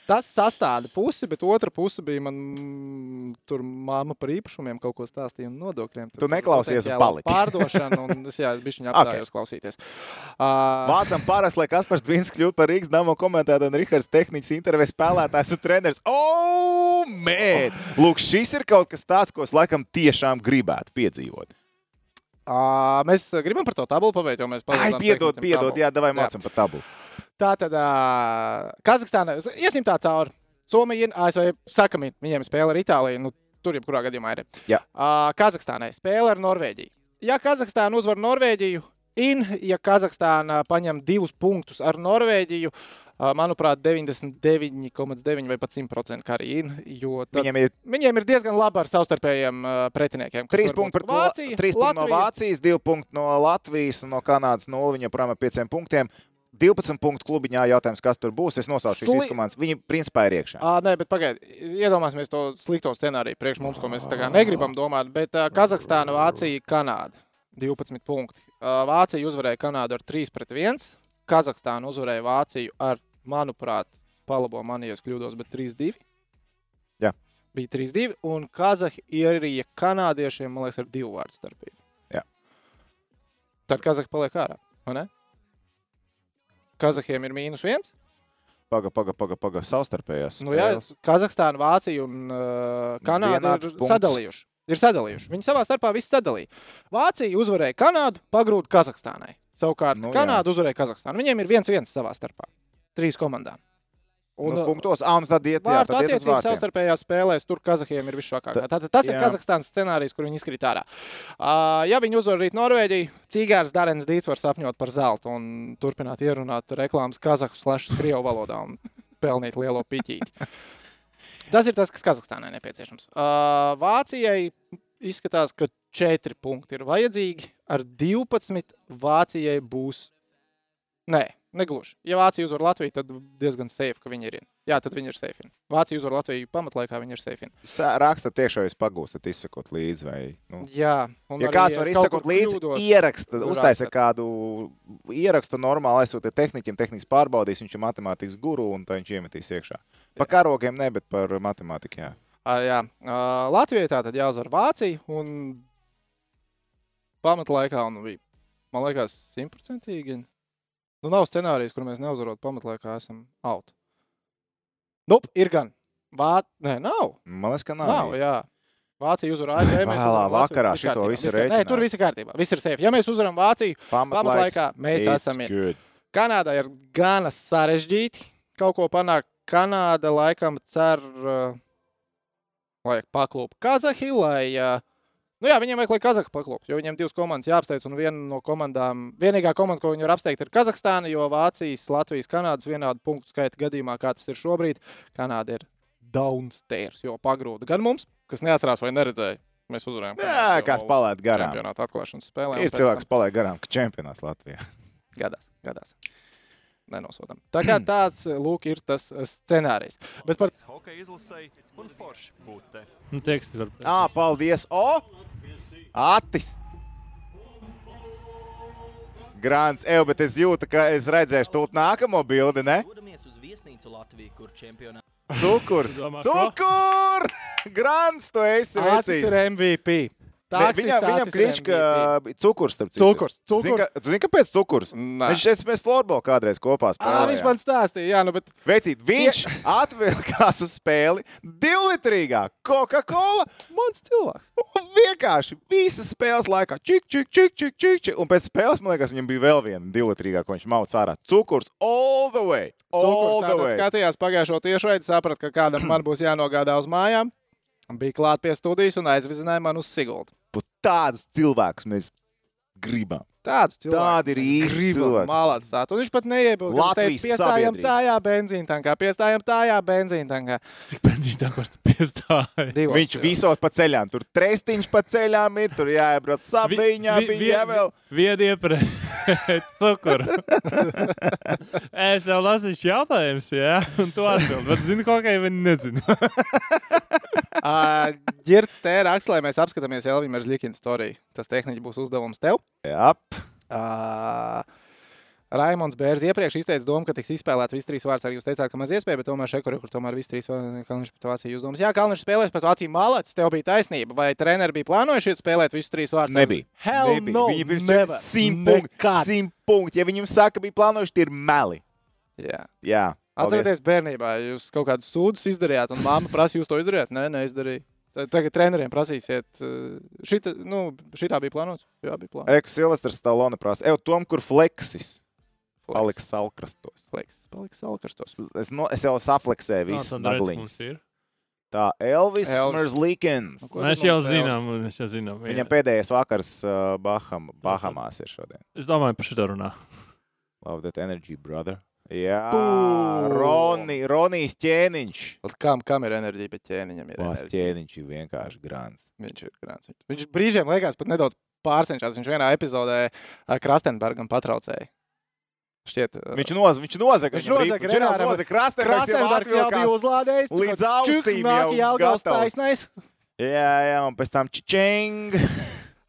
Tas sastāda pusi, bet otra puse bija man mm, tur māma par īpašumiem, kaut ko stāstīja un nodokļiem.
Tu neklausies un
potenciāla
paliki.
Pārdošana, un es jā, bišķiņā apstājos okay. klausīties. Uh,
Vācam parasti, lai Kaspars Dvins kļūtu par Rīgas dāmu komentētāju un Rihards Tehnikas intervijas spēlētājs un treneris. Oh, man! Lūk, šis ir kaut kas tāds, ko es laikam tiešām gribētu piedzīvot.
uh, mēs gribam par to tabulu pabeigt, jo mēs
Ai,
palaidām
piedod,
tehnikam
piedod,
tabulu.
jā, davai
Jā.
mācam par tabu.
Tā tad uh, Kazahstāna, iesim tā cauri. Somija, ir, ASV, sakam, ir, viņiem spēle ar Itāliju, nu tur jebkurā gadījumā ir.
Jā.
Uh, Kazahstānai spēle ar Norvēģiju. Ja Kazahstāna uzvar Norvēģiju, in, ja Kazahstāna paņem divus punktus ar Norvēģiju, uh, manuprāt, 99,9 vai pat 100% kā arī in, jo tad...
Viņiem ir
Viņiem ir diezgan labi ar savstarpējiem uh, pretiniekiem. kas
trīs
var
punkti
būt
pret La-
Vāciju,
trīs punkti no
Latviju.
Vācijas, divi punkti no Latvijas un no Kanādas nulli. Viņa joprojām ar pieciem punktiem. 12 punktu klubiņā jautājums, kas tur būs. Es nosaucu
Sli-
šīs komandas. Viņi principā ir iekšā.
À, nē, bet pagaidiet, iedomāsimies to slikto scenāriju priekš mums, ko mēs tā kā negribam domāt. Bet uh, Kazahstāna, Vācija, Kanāda 12 punkti. Uh, Vācija uzvarēja Kanādu ar 3 pret 1. Kazahstāna uzvarēja Vāciju ar, manuprāt, palabo mani, ja es kļūdos, bet 3-2.
Jā.
Bija 3-2, un Kazahi ir arī kanādiešiem, man liekas, ar divu vārdu starpību.
Jā.
Tad Kazahi paliek ārā, vai ne? Kazahiem ir mīnus viens.
Pagaidām, pagaidām, pagaidām, paga, savstarpējās.
Nu, jā,
spēles.
Kazahstāna, Vācija un uh, Kanāda
Vienāds
ir
punkts.
sadalījuši. ir sadalījuši. Viņi savā starpā viss sadalīja. Vācija uzvarēja Kanādu, pagrūda Kazahstānai. Savukārt
Nu,
nu,
jā.
Kanāda uzvarēja Kazahstānu. Viņiem ir viens viens savā starpā. Trīs komandām.
Un, nu,
Un, uh,
punktos, ah, nu tad iet, jā,
Vārtu
tad iet uz
attiecības
vārtiem.
savstarpējās spēlēs, tur Kazahiem ir visšokākā.
Ta-
Tātad tas ir
jā.
Kazahstānas scenārijs, kur viņi izkrīt ārā. Uh, ja viņi uzvar rīt Norvēģiju, Cīgārs Dārens Dīts var sapņot par zeltu un turpināt ierunāt reklāmas kazahu slašas krievu valodā un pelnīt lielo piķīti. Tas ir tas, kas Kazahstānai nepieciešams. Uh, Vācijai izskatās, ka 4 punkti ir vajadzīgi. Ar 12 Vācijai būs. Nē, negluži. Ja Vācija uzvar Latviju, tad diezgan safe, ka viņi ir. In. Jā, tad viņi ir safe. In. Vācija uzvar Latviju pamatlaikā, viņi ir safe. In.
Sā- Rakstat tiešā, jūs pagūstat, izsakot līdzi. Vai, nu.
Jā, un
Ja
arī
kāds
es
var
kaut
izsakot
kur
līdzi,
kļūdos-
ieraksta,
tur
uztaisa
rakstat.
kādu ierakstu normāli, aizsūtiet tehnikam, tehnikas pārbaudīs, viņš ir matemātikas guru un tā viņš iemetīs iekšā. Par karogiem ne, bet par matemātiku. Jā.
Ā, jā. Ā, Latvijai tā tad jāuzvar Vācija. Un pamatlaikā un bija, man liekas, simtprocentīgi. Nu, nav scenārijas, kur mēs neuzvarot pamatlaikā, esam out. Nu, ir gan. Vācija. Nē, nav.
Man liekas, ka nav.
Nav,
īsti.
jā. Vācija uzvarēja ASV. mēs
Vēlā
uzvaram Latviju.
vakarā
Viss
šito
kārtībā,
visu
viss kārt- Nē,
rēķināt.
tur viss ir kārtībā. Viss ir safe. Ja mēs uzvaram Vāciju,
Pamatlaiks
pamatlaikā mēs
is
esam in.
good.
Kanādā ir gana sarežģīti kaut ko panākt. Kanāda laikam cer, uh, lai paklūp Kazahi, lai. uh, Nu jā, viņiem vajag, lai Kazahstāna paklūp, jo viņiem divas komandas jāapsteidz. Un viena no komandām, vienīgā komanda, ko viņi var apsteigt, ir Kazahstāna. Jo Vācijas, Latvijas, Kanādas vienādu punktu skaita gadījumā, kā tas ir šobrīd, Kanāda ir downstairs. Jo pagrūda gan mums, kas neatrās vai neredzēja. Mēs uzvarējām.
Jā,
Kanādu
kāds
jau
palaid garām.
Čempionāta atklāšanas spēlē. un
Ir
pēc
cilvēks, kas palaid garām, ka čempionāts Latvijā.
Gadās, gadās. Nenosodām. Tā kā tāds lūk, ir tas scenārijs. Bet par
Hokeja izlasēji un forši būt te.
Nu, teksti var būt.
Ā, paldies! O! Atis! Grāns, evo, bet es jūtu, ka es redzēšu tūlīt nākamo bildi, ne?
Dodamies uz viesnīcu Latviju, kur čempionā
Cukurs!
Tu domā, ko?
Cukur! Grāns, tu esi
Acis
vecīts!
ir MVP.
Nē,
Taksists
Viņam, viņam
Acis ir
krīč, ka
MVP.
cukurs tam
Cukurs, cukurs.
Tu zini, kāpēc cukurs?
Nā.
Viņš es, mēs florbola kādreiz kopā
Ā,
spēlējām.
viņš man stāstīja, jā, nu, bet
Vecīt, viņš atvilkās uz spēli divlitrīgā Coca-Cola
mans cilvēks.
Un vienkārši visas spēles laikā, čik, čik, čik, čik, čik, čik. Un pēc spēles, man liekas, viņam bija vēl viena divlitrīgā, ko viņš mauc ārā. Cukurs all the way! All
Cukurs
the
tātad
way!
skatījās pagājušo tiešraidi, saprata, ka kādam man būs jānogādā uz mājām. Bija klāt pie studijas un aizvizināja man uz Siguldu.
Pat Tādus cilvēkus mēs gribam.
Tāds cilvēks.
Tādi ir īsti cilvēki.
Malāts sāt. Un viņš pat neiebilda. Viņš
Latvijas
teica, piestājam
sabiedrība."
tajā benzīntankā, piestājam tajā benzīntankā.
Cik benzīna tā kosta piestāja.
Divos
Viņš
cilvēkos.
visos pa ceļām, tur trestiņš pa ceļām ir, tur jāiebrauc sabiņā, bija jāvēl.
Vienu iepriekš cukuru. es jau lasīšu jautājumus, jā, un tu atbildi. Bet zini, ko kā viņi nezina.
Girts te raksta, lai mēs apskatāmies Elvīna Zlikina storiju. Tas tehniski būs uzdevums tev.
Jā,
Uh, Raimons Bērns iepriekš izteica domu, ka tiks izspēlēti visi trīs vārdi. Arī jūs teicāt, ka maz iespēja, bet tomēr šeit, kur tomēr visi trīs vārdi Kalniņš pret Vāciju uzdomas. Jā, Kalniņš spēlēs pret Vāciju malāts, tev bija taisnība. Vai treneri bija plānojuši spēlēt visus trīs vārdus?
nebija.
Hell
nebija.
no!
Viņi pirms
never,
tam simt punktu.
nekad.
Simt punktu. Ja viņam saka, bija plānojuši, tie ir meli.
Jā.
Jā. paldies.
Atcerieties, bērnībā jūs kaut kādus sūdzības izdarījāt, un māma prasīja, jūs to izdarījāt? Nē, neizdarīju. Ta- Tagad treneriem prasīsiet, uh, šita, nu, šitā bija plānota. Jā, bija plānota.
Reku Silvestris Stalone prasa, evo, tom, kur fleksis paliks salkrastos.
Paliks, paliks salkarstos.
Es, no, es jau saplēsēju
Nu,
visu nagliņus. Tā
Elvis.
Elvis
Nu,
Smerzlikens.
Ko
Mēs
zina
jau
mums
zinām, un mēs jau zinām. jā.
Viņam pēdējais vakars uh, Baham, Bahamās ir šodien.
Es domāju par šo runā.
Love that energy, brother. Jā,
Tu!
Roni, Ronijs ķēniņš.
Pat Kam, kam ir enerģija, bet ķēniņam ir
Vās
enerģija.
ķēniņš ir vienkārši grāns.
Viņš ir grāns. Viņš- Viņš brīžiem liekas pat nedaudz pārcenšās. Viņš vienā epizodē ā, Krastenbergam patraucēja. Šķiet, eh, ā,
Viņš, noz, viņš nozaga.
Viņš nozaga Renāram.
nozaga krāsterāks jau
Krastenbergs jau bija
atvilkās.
uzlādējis. tu
līdz
kā čuk,
ausīm
nāk
jau
Jelgavas
gatavs.
taisnais.
Jā, jā, un pēc tam čičing.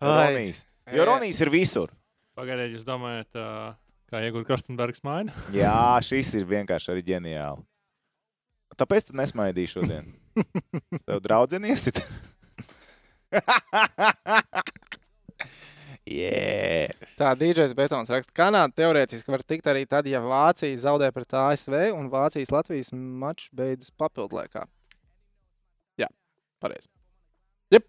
Ai.
Ronijs. Jo
Jā.
Ronijs ir visur.
Pagaidiet, jūs domājat, ā, kā iegūt Krastenbergs mainu?
Jā, šis ir vienkārši arī ģeniāli. Tāpēc tu nesmaidīji šodien. Tev draudzenies ir. yeah.
Tā DJs Betons raksta, ka Kanāda teorētiski var tikt arī tad, ja Vācija zaudē pret ASV un Vācijas Latvijas mačs beidzas papildlaikā. Jā, pareizi. Jā,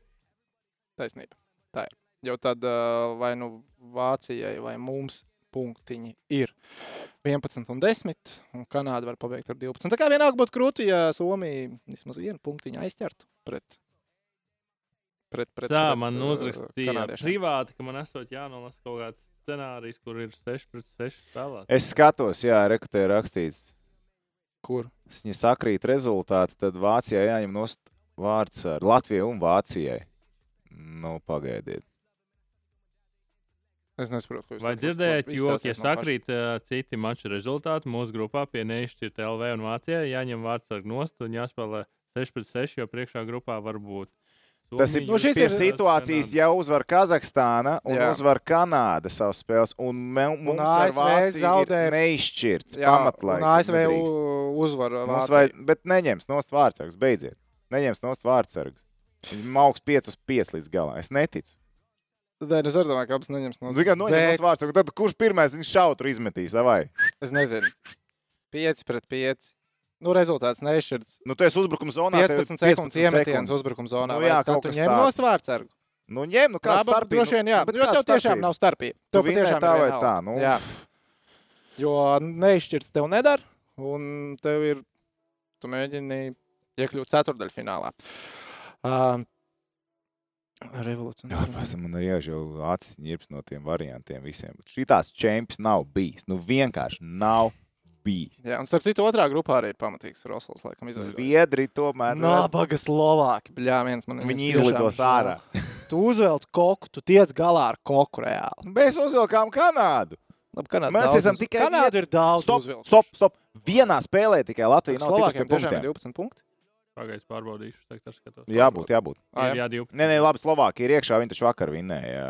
taisnība. Tā ir. Jo tad uh, vai nu eh, Vācijai vai mums punktiņi ir 11 un 10, un Kanāda var pabeigt ar 12. Tā kā vienalga būtu krūti, ja Somija vismaz vienu punktiņu aizķertu pret. Pret, pret,
Tā
pret,
man
eh,
uzrakstīja
kanādiešiem.
privāti, ka man esot jānolasa kaut kāds scenārijs, kur ir 6 pret 6 spēlētāji.
Es skatos, jā, rekutē rakstīts.
Kur?
s- Ja sakrīt rezultāti, tad Vācijai jāņem nost vārds ar Latviju un Vācijai. Nu, pagaidiet.
Es nesaprotu, ko jūs
Vai
sakāt.
dzirdējāt,
Izstāstiet
jo, ja
man paši.
sakrīt ā, citi maču rezultāti, mūsu grupā pie neizšķirta LV un Vācijā jāņem vārds ar nost un jāspēlē 6 pret 6, jo priekšā grupā var būt.
Tas ir
Somija,
nu, šis ir
Kanāda.
situācijas, ja uzvar Kazahstāna un jā.
Jā.
uzvar Kanāda savas spēles, un me- mums ar
ASV
Vāciju
zaudē-
ir neizšķirts
Jā,
pamatlaikums.
un ASV u- uzvara.
Mums
Vāciju.
vai, bet neņems nost vārdsargus, beidziet. Neņems nost vārdsargus. Viņi Mauks 5 uz 5 līdz galam. Es neticu.
Nē, es arī domāju, ka abas neņems no
Nu, Tikai noņemt
Bet-
nost vārdsargus. Tad kurš pirmais viņa šautru izmetīs? Vai?
Es nezinu. 5 pret 5. Nu, rezultāts nešķirts.
Nu, tu esi uzbrukuma zonā. tev ir
15 sekundes iemetiens
sekundes.
uzbrukuma zonā.
Nu
vai tad
jā, kaut
tu
kas
ņem
tāds.
no stvārtsargu.
Nu, ņem, nu, kā
Labi,
starpība.
Droši vien, jā.
bet
Jo
kāda
tev tiešām
starpība?
nav starpība. Tev
vinēji
patiešām ir
tā vai
vienalga.
tā, nu.
Jā. Jo nešķirts tev nedara, un tev ir. Tu mēģini iekļūt ceturdaļfinālā. Uh,
Jā,
Revolūcija.
prasa, man ir jau acis ņirps no tiem variantiem visiem. Šitās čempions nav bijis. Nu, vienkārši nav bijis.
Jā, un starp citu, otrā grupā arī ir pamatīgs Rosals. Laikam, izveidojis.
Zviedri tomēr. redz,
Nabaga Slovāki. Bļā, viens man
Viņi
tiešām
izlidos
žēl.
ārā.
Tu uzvelc koku, tu tiec galā ar koku reāli.
Mēs uzvilkām Kanādu.
Labi, Kanāda
Mēs
daudz
esam
uz-
tikai
Kanāda ir daudz.
Stop, stop, stop. Vienā spēlē tikai Latvija nav tikusi pie
Slovākiem tiešām ir
punktiem.
12 punkti.
Pagaidzi, pārbaudīšu, tagad ar skatos.
Jābūt, jābūt.
Ā,
Ir
jā,
jā, 12.
Nē, nē, labi, Slovākija ir iekšā. Viņi taču vakar vinēja.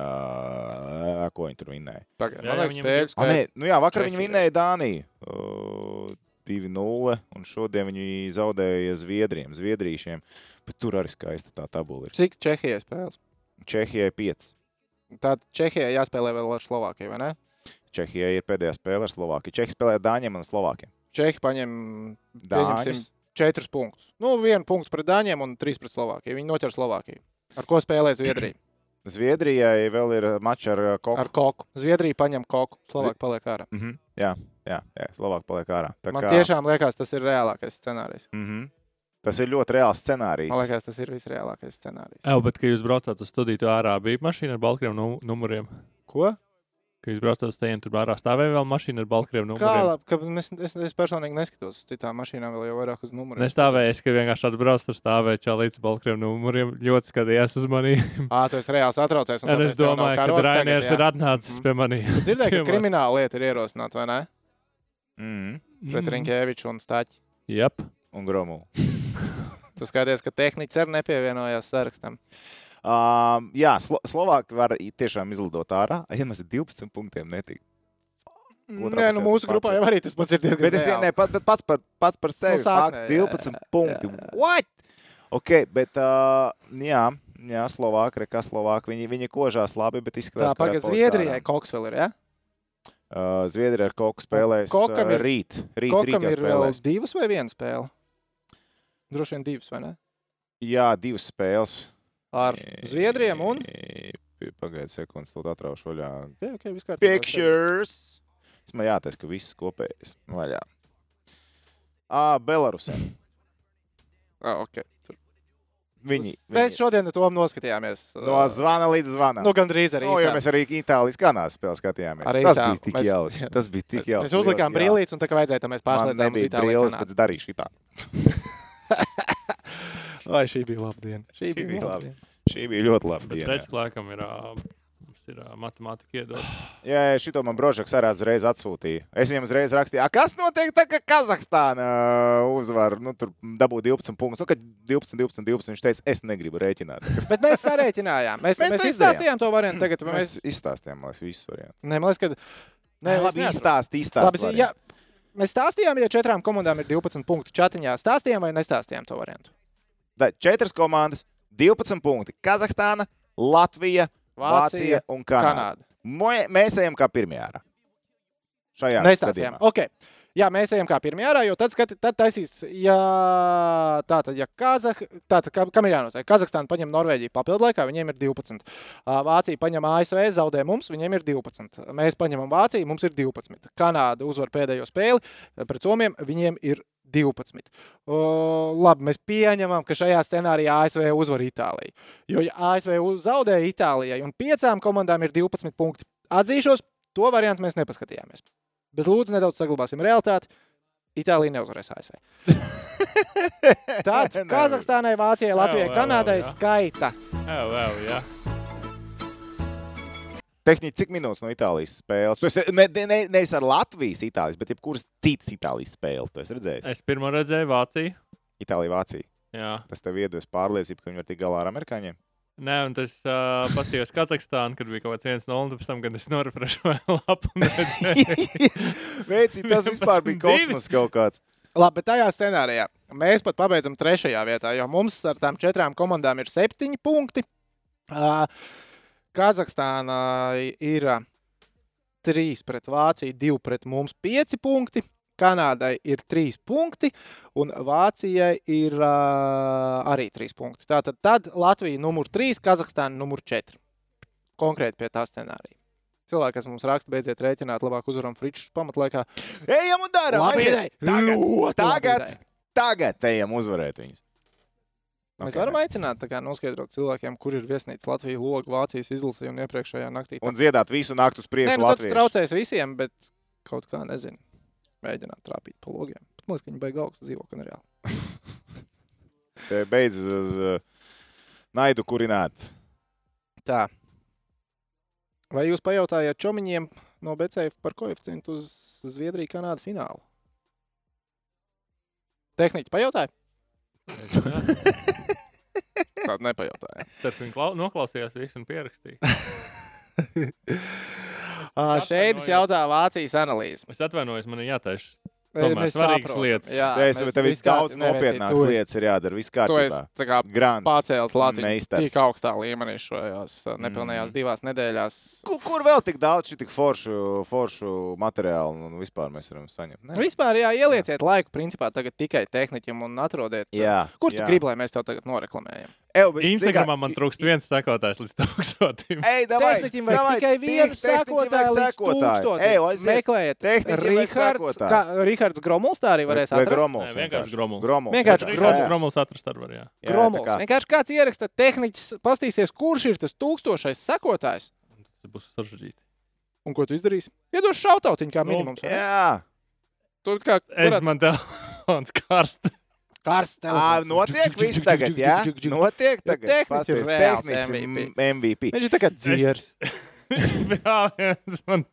ā, Ko viņi tur vinēja?
pagaidi. Man
Jā, jā,
liekas,
viņiem
spēles.
A, nē, nu jā, vakar viņi
Čehija.
vinēja Dāniju. uh, 2-0, un šodien viņi zaudēja Zviedrijiem, Zviedrīšiem. Bet tur arī skaista tā tabula ir.
Cik Čehijai spēles?
Čehijai 5.
Tātad Čehijai jāspēlē vēl ar Slovākiju, vai ne?
Čehijai ir pēdējā spēle ar Slovākiju. Čehi spēlē Dāņiem un Slovākiem.
Čehi paņem
Dāņus.
4 punktus. Nu, 1 punktu pret Dāņiem un 3 pret Slovākiju. Viņi noķer Slovākiju. Ar ko spēlē Zviedrija?
Zviedrijai vēl ir mačs ar uh, Koku.
Ar koku. Zviedrija paņem koku. Slovākija paliek ārā.
Mhm. Jā, jā, jā Slovākija paliek ārā. Tā
Man tiešām liekas, tas ir reālākais scenārijs.
Mhm. Tas ir ļoti reāls scenārijs.
Man liekas, tas ir visreālākais scenārijs.
Jā, bet, kad jūs braucāt uz studiju, tur ārā bija mašīna ar balkrievu nu- numuriem.
Ko?
Kad jūs braucāt uz tejiem, tur ārā stāvēja vēl mašīna ar balkrievu
Kā
numuriem.
labi, ka es, es, es personīgi neskatos uz citām mašīnām, vēl jau vairāk uz numuriem.
Nestāvēja, es ka vienkārši atbraucu, tur stāvēja čā līdz balkrievu numuriem. Ļoti skatījās uz mani.
Ā, tu esi reāli satraucies. un
Un
tāpēc
es
Nu, tev nav
domāju, ka
karotes tagad,
Rainers
jā.
ir atnācis
Mm.
pie maniem.
Tu Dzirdēju, ka krimināla lieta ir ierosināt, vai ne?
Mhm.
Pret Rinkēviču un Staķi.
Jā,
Un Gromulu.
Tu skaties, ka tehnici arī nepievienojās sarakstam.
Um, jā, Slo Slovāki var i- tiešām izlidot ārā. Ja mēs 12 punktiem netik.
Nē, nu mūsu grupā jau arī tas pats ir diezgan
Bet es jau
reāli.
ne pat, bet pats par, pats par sevi.
sākumā,
Fakt,
Nu, jā,
12
jā,
punkti. What? Ok, bet uh, jā, jā, Slovāki, re, kā Slovāki, viņi, viņi kožās labi, bet
Tā,
izskatās, ka
pagaid,
varētu palikt
Zviedrijai koks vēl ir, jā?
ārā. Uh, Zviedrija ar koku spēlēs
Kokam
Kokam
ir-
ir, rīt. Rīt, rīt
Kokam
jau
ir vēl
spēlēs.
divas vai viena spēle? Droši vien divas, vai ne?
Jā, divas spēles.
Ar Zviedriem un...
Pagaidiet, sekundes, to atraušu vaļā.
Okay, okay, viss kārtībā.
Pictures. Es man jātaisa, ka viss kopējais Nu, vaļā. Ā, Belarusē.
Ah, okay.
Viņi.
Mēs
viņi.
šodien to noskatījāmies.
No
ā,
zvana līdz zvanam.
nu, gandrīz arī.
No, jo mēs arī Itālijas kanālas spēli skatījāmies.
Arī
tas
sā-
bija tik
mēs-
jauki. Tas bija tik jauki.
Mēs uzlikām
Liels, jā.
brīvības, un tā kā vajadzēja, tad mēs
Man
pārslēdzām uz
nebija
Itālijas
brīlis,
kanālu.
bet darīju šitā.
Vai šī bija laba diena? Šī
bija
bija laba
laba
diena.
Šī bija ļoti laba
bet
diena.
redz, laikam ir. ā, Mums ir ā, matemātika iedod.
Jā, jā, šito man Brožaks arī uzreiz atsūtīja. Es viņam uzreiz rakstīju, "A, kas notiek tā, ka Kazahstāna uzvar, nu tur dabū 12 punktus. Nu, kad 12, 12, 12, viņš teica, es negribu rēķināt.
Bet mēs sarēķinājām. Mēs,
Mēs
mēs, mēs
to izdarījām.
izstāstījām to variantu. Tagad mēs,
Mēs izstāstījām, lai es visu variantu.
nē, man liekas, ka.
Nē,
es
labi,
neatceros.
izstāsti,
Labi,
izstāsti.
es- ja, mēs stāstījām, ja četrām komandām ir 12 punkti čatiņā. Stāstījām vai nestāstījām to variantu?
Tā, četras komandas, 12 punkti. Kazahstāna, Latvija, Vācija, Vācija un Kanāda.
Kanāda.
Kanāda. Mēs ejam kā pirmie ārā. Šajā
Nestāstījām.
gadījumā.
Okay. Jā, mēs ejam kā pirmie ārā, jo tad, skat, tad taisīs, ja tā tad, ja Kazah, tā tad, kam- kam ir jānotiek? Kazahstāna paņem Norvēģiju papildu laikā, viņiem ir 12. Ā, Vācija paņem ASV, zaudē mums, viņiem ir 12. Mēs paņemam Vāciju, mums ir 12. Kanāda uzvar pēdējo spēli pret Somiem, viņiem ir 12. O, labi, mēs pieņemam, ka šajā scenārijā ASV uzvar Itāliju. Jo ja ASV uz- zaudēja Itālijai un piecām komandām ir 12 punkti. Atzīšos, to variantu mēs nepaskatījāmies. Bet lūdzu, nedaudz saglabāsim realitāti. Itālija neuzvarēs ASV. Tad
Nevar.
Kazahstānai, Vācijai, Latvijai,
vēl, vēl,
Kanādai
jā.
skaita.
Jā, vēl, jā.
Tehniski, cik minūtes no Itālijas spēles? Tu esi ne, ne, ne, nevis ar Latvijas Itālijas, bet jebkuras citas Itālijas spēles. Tu esi redzējis?
Es pirmo redzēju Vāciju.
Itālija, Vācija.
Jā.
Tas tev iedos pārliecību, ka viņi var tikt galā ar amerikāņiem.
Nē, un tas uh, paskatījos Kazahstānā, kad bija kaut kāds 1-0, un pēc tam, kad es norefrēju lapu. un redzēju.
Veci, tas vispār bija
11-2.
kosmos kaut kāds.
Labi, bet tajā scenārijā mēs pat pabeidzam trešajā vietā, jo mums ar tām četrām komandām ir septiņi punkti. Ā, Kazahstānai ir ā, trīs pret Vāciju, divi pret mums pieci punkti. Kanādai ir trīs punkti, un Vācijai ir uh, arī trīs punkti. Tātad tad Latvija numur trīs, Kazahstāna numur četri. Konkrēti pie tā scenārija. Cilvēki, kas mums raksta, beidziet rēķināt, labāk uzvaram Fričs pamatlaikā.
Ejam un darām!
Labi
aiziet!
ideja!
Tagad,
Ļoti laba
tagad,
ideja.
tagad ejam uzvarēt viņus.
Mēs
Ok.
okay. varam aicināt, tā kā noskaidrot cilvēkiem, kur ir viesnīca Latvijas logs, Vācijas izlasē un iepriekšējā naktī.
Un dziedāt visu naktu
Nē,
uz priekšu.
nu, tas
Latviešu.
traucēs visiem, bet kaut kā nezinu. Mēģināt trāpīt pa logiem. Bet Man liekas, ka viņi beigas augstu dzīvo, gan reāli.
Te Beidzas uz uh, naidu kurināt.
Tā. Vai jūs pajautājāt čomiņiem no Becēja par koeficientu uz Zviedriju, Kanādu finālu? Tehniķi pajautāja? Tāda nepajautāja.
Starp viņu klau- noklausījās visu un pierakstīju.
Ā, Šeit es jautāju Vācijas analīzi.
Es atvainojos, man ir jātaisa.
Ei,
Tomēr
mēs
svarīgas
saprotam.
lietas.
Jā,
Jā,
mēs
es domāju, ka tev ir
viskā-
daudz
nē, Vecīt,
nopietnākas
tu esi-
lietas, ir jādara. Viss
To es
kārtībā.
tā kā
Grāmatā.
pācēlis Latvijas
Meistars. Mm.
Banka. Tik augstā līmenī šajās uh, nepilnējās divās nedēļās.
Kur, kur vēl tik daudz šī foršu, foršu materiālu un vispār mēs varam saņemt? Nē.
Vispār jā, ielieciet laiku principā tagad tikai tehniķiem un atrodiet, uh,
Jā,
kur tu
jā.
gribi, lai mēs tev tagad noreklamējam.
Eju, bet
Instagramā
vienkār-
man trūkst viens sekotājs līdz tūkstotim.
Ej, davai,
Tehniķim vajag
davai,
tikai
tī-
vienu
tehniķim vajag
sekotāju,
sekotāju. Ej, aiziet.
Meklējiet,
Tehniķim vajag
Rihards,
sekotāju.
kā Rihards Gromuls tā arī varēs
Vai- vai
atrast.
Gromuls
Nē, vienkārši Gromuls.
Gromuls.
Vienkārši
jā.
Gromuls.
Groms, Groms atrast ar varu, jā.
Jā, jā, tā
Gromuls.
kā-
Vienkārši kāds ieraksta tehniķis, pastīsies, kurš ir tas tūkstošais sekotājs.
Tas būs saržģīti.
Un ko tu izdarīsi? Iedos šautautiņu kā
Nu,
minimums. vai ne?
Jā,
Tu kā
Es
varētu-
man telefons karsts.
karsts
tā
telefons.
Ah, notiek viss tagad, jā? Notiek tagad.
Tehnicis
Pasties,
reāls
tehnicis
MVP.
m- MVP.
Viņš ir tā kā dziers.
jā, viens man.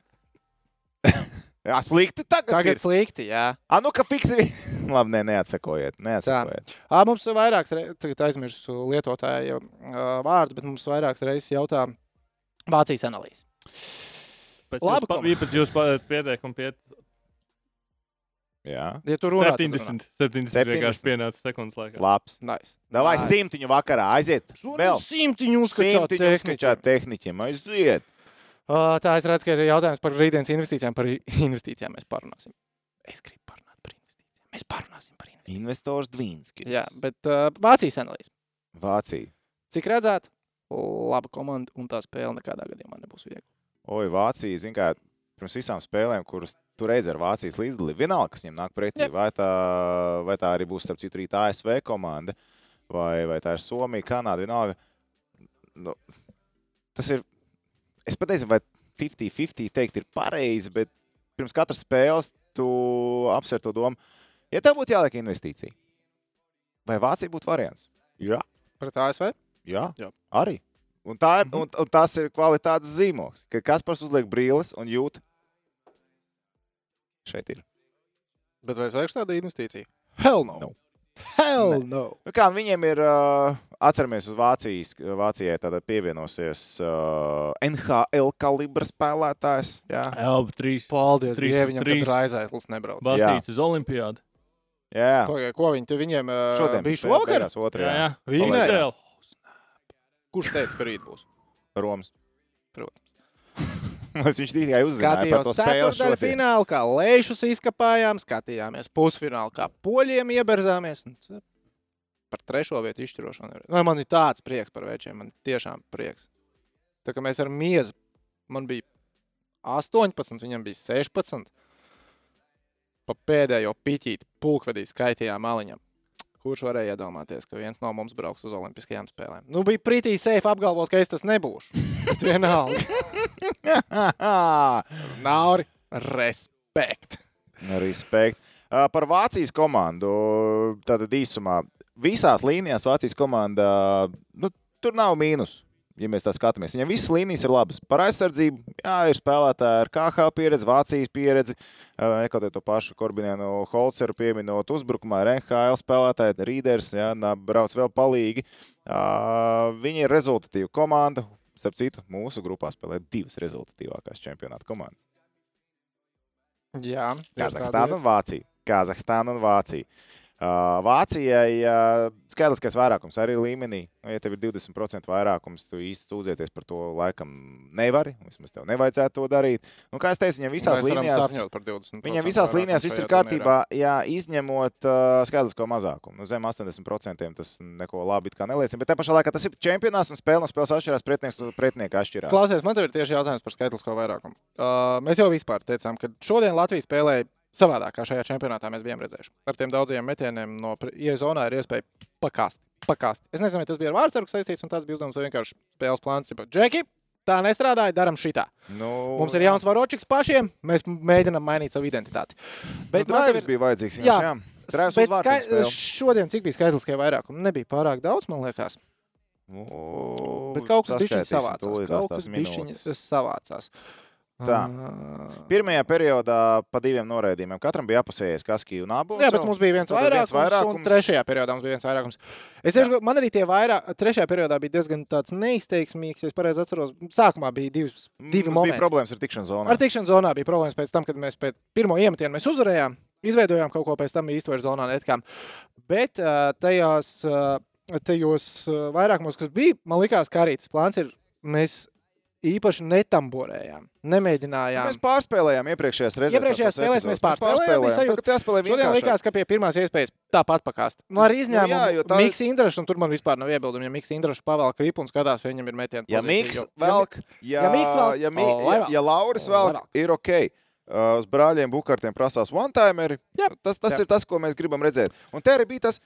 Jā, slikti tagad.
Tagad
ir.
slikti, jā.
A, nu, ka fiksi. vi- Labi, nē, neatsakojiet. Neatsakojiet.
Ā, mums ir vairākas reizes, tagad aizmirsu lietotāju ā, vārdu, bet mums vairākas reizes jautā Vācijas analīze.
Pēc
Labi,
jūsu pa-
kom.
bija pēc jūsu pa- pieteikuma piet...
Jā,
Ja tu runā, tad tu
70. 70 vienkārši pienāca sekundes laikā.
labs.
runā. Nice.
Davai
Nice.
simtiņu vakarā aiziet. Vēl
Simtiņu uzskačā
simtiņu uzskačā
tehniķi.
tehniķiem. Aiziet.
Tā es redzu, ka ir jautājums par rītdienas investīcijām. Par i- investīcijām mēs parunāsim. Es gribu parunāt par investīcijām. Mēs parunāsim par investīcijām.
Investors Dvīnskis.
Jā, bet ā, Vācijas analīze.
Vācija.
Cik redzēt, laba komanda un tā spēle nekādā gadījumā nebūs viegla.
Oi, Vācija, zin kā, pirms visām spēlēm, kuras tu redzi ar Vācijas līdzdalību, vienalga, kas viņam nāk pretī,
Jā.
vai tā, vai tā arī būs, starp citu, rīt ASV komanda, vai, vai tā ir Somija, Kanāda, vienalga. Nu, tas ir, es pat nezinu, vai 50-50 teikt ir pareizi, bet pirms katras spēles tu apsver to domu, ja tev būtu jāliek investīcija, vai Vācija būtu variants? Jā,
Pret ASV?
Jā,
Jā. Mhm.
arī. Un, tā, ir- un, un tas ir kvalitātes zīmogs, ka Kaspars uzliek brīles un jūt. Šeit ir.
Bet vai es veikšu tādu investīciju? Hell no!
No.
Hell
Nē.
no!
Nu, kā viņiem ir, uh, atceramies, uz Vācijas, Vācijai tad pievienosies uh, NHL kalibra spēlētājs. Jā,
Elba 3.
Paldies
Trīs-
Dievam,
trīs-
ka Raizaitlis nebrauc.
Basīts uz olimpiādu.
jā.
Ko, ko viņi tur viņiem ā,
šodien
bija
spēle
šovakar?
beigās Otrajā.
Jā, jā.
Viņi
Palaidām.
ne-
Izcēl.
Kurš teica, ka rīt būs?
Romas.
Protams.
Mēs viņš tikai uzzināja par to
Skatījāmies
spēli šodien.
ceturdaļfinālā, kā lēšus izkapājām, skatījāmies pusfinālā, kā poļiem ieberzāmies. un c- Par trešo vietu izšķirošanu. Nu, man ir tāds prieks par večiem, man tiešām prieks. Tā kā mēs ar miezu, man bija 18, viņam bija 16. Pa pēdējo pitīti pulkvedī skaitījām maliņam. Kurš varēja iedomāties, ka viens no mums brauks uz Olimpiskajām spēlēm? Nu, bija pretī safe apgalvot, ka es tas nebūšu. Bet vienalga. Nauri, respekt.
Respekt. Ā, Par Vācijas komandu. Tātad īsumā visās līnijās Vācijas komanda nu, tur nav mīnus. Ja mēs tā skatāmies, viņam visas līnijas ir labas. Par aizsardzību, jā, ir spēlētāji ar KHL pieredzi, Vācijas pieredzi, ā, nekad to pašu Korbinēnu Holceru pieminot uzbrukumā, ir NHL spēlētāji, Rīders, jā, nā, brauc vēl palīgi. Ā, Viņi ir rezultatīva komanda. Starp citu, mūsu grupā spēlē divas rezultatīvākās čempionāta komandas.
Jā,
Kazahstāna un Vācija. Kazahstāna un Vācija. Uh, Vācijai uh, skaitliskais vairākums arī ir līmenī. Nu, ja tev ir 20% vairākums, tu īsti sūdzēties par to laikam nevari. Vismaz tev nevajadzētu to darīt. Nu, kā es teicu, viņam visās līnijās.
par 20.
Viņam visās līnijās viss ir kārtībā, jā, izņemot uh, skaitlisko mazākumu. Nu, zem 80% tas neko labi it kā neliecina. Bet tajā pašā laikā tas ir čempionāts un spēle no spēles atšķirās, pretinieks no pretinieka atšķirās.
Klausies, man te ir tieši jautājums par skaitlisko vairākumu. Uh, mēs jau vispār teicām, ka šodien Latvija spēlēja savādāk, kā šajā čempionātā mēs bijām redzējuši. Ar tiem daudziem metieniem no iezonā ir iespēja pakāst. pakāst. Es nezinu, vai tas bija ar vārdsargu saistīts, un tas bija uzdevums vai vienkārši spēles plāns. tipa, Džeki, tā nestrādāja, daram šitā.
Nu,
Mums ir jauns varočiks pašiem, mēs mēģinām mainīt savu identitāti.
bet
Bet
nu,
man tev
drāvis
ir-
bija vajadzīgs.
Jā.
Jā, jā.
Bet skai... šodien, cik bija skaitliskie vairākumi, Nu, nebija pārāk daudz, man liekas.
Nu,
Bet kaut kas bija savādāk. Kaut kas bija savādāk.
Pirmajā periodā pa diviem noraidījumiem. Katram bija apusējis Kaskija un Abuļs.
Jā, bet mums bija viens
Tātad
vairākums,
viens
viens vairākums.
vairākums.
un trešajā periodā mums bija viens vairākums. Es tieši, man arī tie vairāk, trešajā periodā bija diezgan tāds neizteiksmīgs, ja es pareizi atceros. Sākumā bija divas, divi
Mums
momenti.
bija problēmas ar tikšanās zonu.
Ar tikšanās zonā bija problēmas pēc tam, kad mēs pēc pirmo iemetienu mēs uzvarējām, izveidojām kaut ko pēc tam īstenībā zonā netikām. Bet ā, tajās, ā, tajos ā, vairākumos, kas bija, man likās, ka arī tas plāns ir, mēs īpaši netamborējām, nemēģinājām.
Mēs pārspēlējām iepriekšējās reizes.
Iepriekšējās
tās
spēlēs mēs
epizodes.
pārspēlējām, bija sajūta-
Tagad jāspēlē
Šodien
vienkāršāk.
likās, ka pie pirmās iespējas tāpat pakāst. Nu, ar izņēmumu
jā, jo
nu,
tā
tā...
ir-
Miksa Indraša, un tur man vispār nav iebildumi, ja Miksa Indraša pavēl kripu un skatās, vai viņam ir metiens.
Ja Mikls velk, ja,
ja Miks velk,
ja, mi,
o, lai
ja,
velk.
ja Lauris
O,
velk,
lai
ir ok. Uh, Uz brāļiem Bukārtiem prasās one-timeri.
Jā.
Tas, tas
Jā.
ir tas, ko mēs gribam redzēt. Un te arī bija tas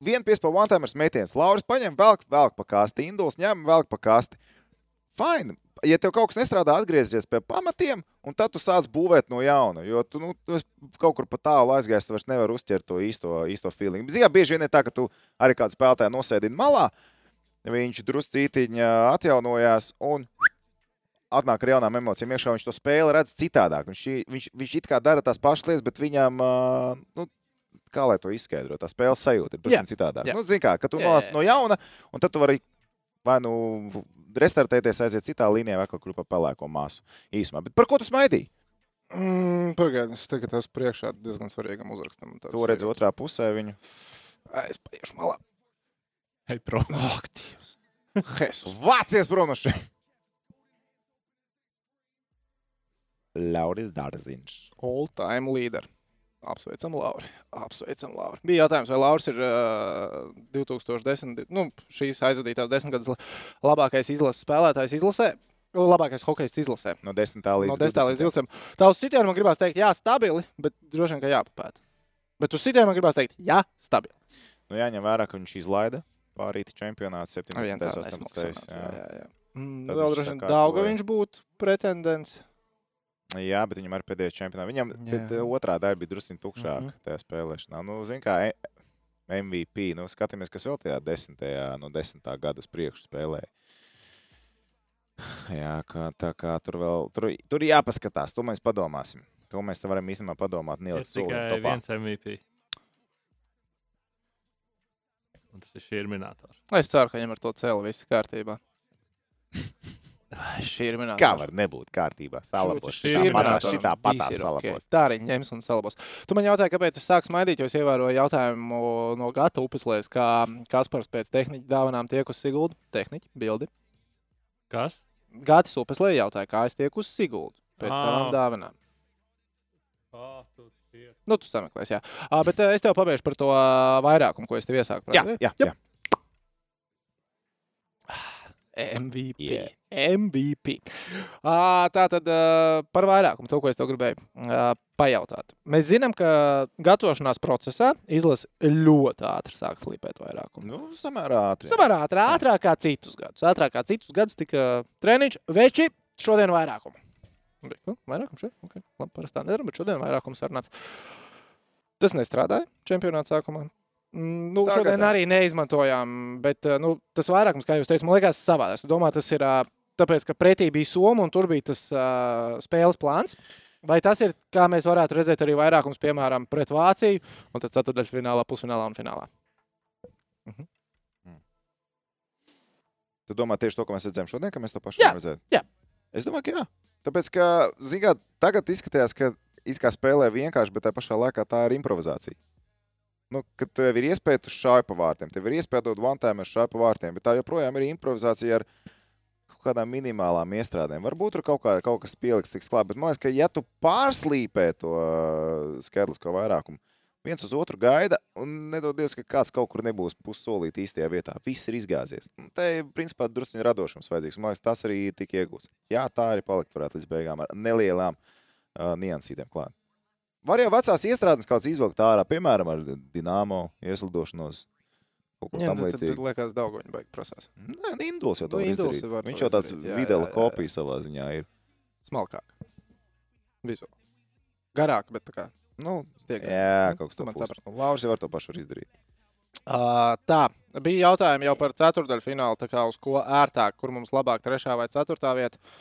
viens piespēlēts pa one-timers metiens. Lauris paņem, velk, velk pa kasti, Induls ņem, velk pa kasti. Fine. Ja tev kaut kas nestrādā, atgriezies pie pamatiem, un tad tu sāc būvēt no jauna. Jo tu, nu, tu esi kaut kur pa tālu aizgājis, tu vairs nevari uztvert to īsto, īsto feeling. Zinām, bieži vien ir tā, ka tu arī kādu spēlētāju nosēdi malā, viņš druscītiņa atjaunojās un atnāk ar jaunām emocijām. Iekšā viņš to spēli redz citādāk. Viņš, i- viņš, viņš it kā dara tās pašas lietas, bet viņam, ā, nu, kā lai to izskaidro, tā spēles sajūta ir drusku citādāk.
jā.
Nu, Zinām, kā, ka tu
Jā,
nonāc
jā,
no jauna, un tad tu vari vai nu restartēties, aiziet citā līnijā, vai kaut kur pa pelēko māsu īsumā. Bet par ko tu smaidīji?
Mm, Pagaidiet, tagad tas priekšā diezgan svarīgam uzrakstam. Tāds
To redzu otrā pusē. Viņu.
Es paiešu malā.
Hei, prom.
Ak, Dievs! Jesus.
Vācies prom no šejienes! Lauris Dārziņš.
All time leader. Apsveicam, Laura. Apsveicam, Laura. Bija jautājums, vai Lauris ir uh, 2010, nu, šīs aizvadītās desmitgades la- labākais izlases spēlētājs izlasē, Nu, labākais hokejs izlasē.
No 10. līdz
No 10 līdz 20. Tavs sitienam man gribās teikt, jā, stabili, bet droši vien, ka jāpapēta. Bet uz sitienam man gribās teikt, jā, stabili.
Nu, jāņem vērā, ka viņš izlaida pārīti čempionātu 17.
Avientā
un 18.
nesmaksāts, jā,
Jā.
jā, jā. Mm,
Tad
vēl
viņš
droši vien
sakārtoja.
Dauga viņš būtu pretendents.
jā, bet viņam arī pēdējais čempionāts. Viņam
Jā.
bet, eh, otrā daļa bija drusku tukšāka uh
Mhm.
-huh. tajā spēlēšanā. Nu, zin, kā, e- MVP, nu, skatāmies, kas vēl tajā desmitajā, no desmitā gada uz priekšu spēlēja. Jā, kā, tā kā tur vēl tur, tur ir jāpaskatās, to mēs padomāsim. To mēs te varam īstenībā padomāt.
Ir
Nelikt
tikai
soli topā.
viens MVP. Un tas ir šī ir minētājs.
Es ceru, ka viņam ar to cēlu viss kārtībā. Ai, Šī ir minēta.
Kā var nebūt kārtībā? Salabos.
šī ir
Šitā patās,
minētā.
šitā patās salabos.
Tā arī ņems un salabos. Tu man jautāji, kāpēc es sāku smaidīt, jo es ievēroju jautājumu no Gata upeslēs, kā Kaspars pēc tehniķa dāvanām tiek uz Siguldu. Tehniķi, bildi.
Kas?
Gātis upes lejā jautāja, kā es tieku uz Siguldu pēc
Ā.
tavām dāvanām.
Ā, tu tie-
Nu, tu sameklēsi, jā. Uh, bet uh, es tev pabeigšu par to uh, vairākumu, ko es tev iesāku.
Jā,
pravda?
jā,
Jep.
jā.
MVP.
Yeah.
MVP. Uh, tā tad uh, par vairākumu, to, ko es tev gribēju uh, pajautāt. Mēs zinām, ka gatavošanās procesā izlase ļoti ātri sāk slīpēt vairākumu.
Nu, samērā ātri.
Samērā ātrāk, ātrāk kā citus gadus. Ātrāk kā citus gadus tika treniņš, veči šodien vairākumu. Un bija, "Nu, Vairākums šeit, ok, labi, parasti tā nedaram, bet šodien vairākums sarunāts. Tas nestrādāja čempionāta sākumā. Mm, Nu,
Tā
šodien
gadās.
arī neizmantojām, bet eh, nu, tas vairākums, kā jūs teicāt, man liekas savādāk. Es domāju, tas ir ā, tāpēc, ka pretī bija Somija un tur bija tas uh, spēles plāns. Vai tas ir, kā mēs varētu redzēt, arī vairākums, piemēram, pret Vāciju, un tad ceturdaļfinālā, pusfinālā un finālā?
Tu domā tieši to, ko mēs redzējām šodien, ka mēs to pašu
Jā,
redzējām?
jā.
Es domāju, ka jā. Tāpēc, ka, zināmā mērā, tagad izskatās, ka it kā spēlē vienkārši, bet tā pašā laikā tā ir improvizācija. Nu, kad tev ir iespēja tu šāpēt pa vārtiem, tev ir iespēja dot vantēm ar šāpēt pa vārtiem, bet tā joprojām ir improvizācija ar kaut kādām minimālām iestrādēm. Varbūt tur kaut, kā, kaut kas pieliks tiks klāt, bet man liekas, ka ja tu pārslīpē to ā, skaitlisko vairākumu, viens uz otru gaida un nedodies, ka kāds kaut kur nebūs pussolīti īstajā vietā. Viss ir izgāzies. Un Te ir principā druskuņi radošums vajadzīgs. Man liekas, tas arī tika iegūts. Jā, tā arī palikt varētu līdz beigām ar nelielām uh, niansītēm klāt. Var jau vecās iestrādes kaut kādas izvilkt ārā, piemēram, ar dīnāmo ieslidošanos. Kaut ko
Jā,
tam
nu, tad,
līdzīgu.
tad liekas, daudz viņa beigas prasās.
Nē, nu, Induls jau
Nu,
tādu
Induls
izdarīja.
var to
Viņš jau tāds
izdarīt, jā,
videla
jā, jā, jā.
kopija savā ziņā ir.
Smalkāk. Vizuāli. Garāk, bet tā kā
Nu,
tiek.
jā, kaut kas
Tu man
tāds.
saprati.
Lauris jau ar to pašu var izdarīt.
Uh, tā, bija jautājumi jau par ceturdaļu finālu, tā kā uz ko ērtāk, kur mums labāk trešā vai ceturtā vieta.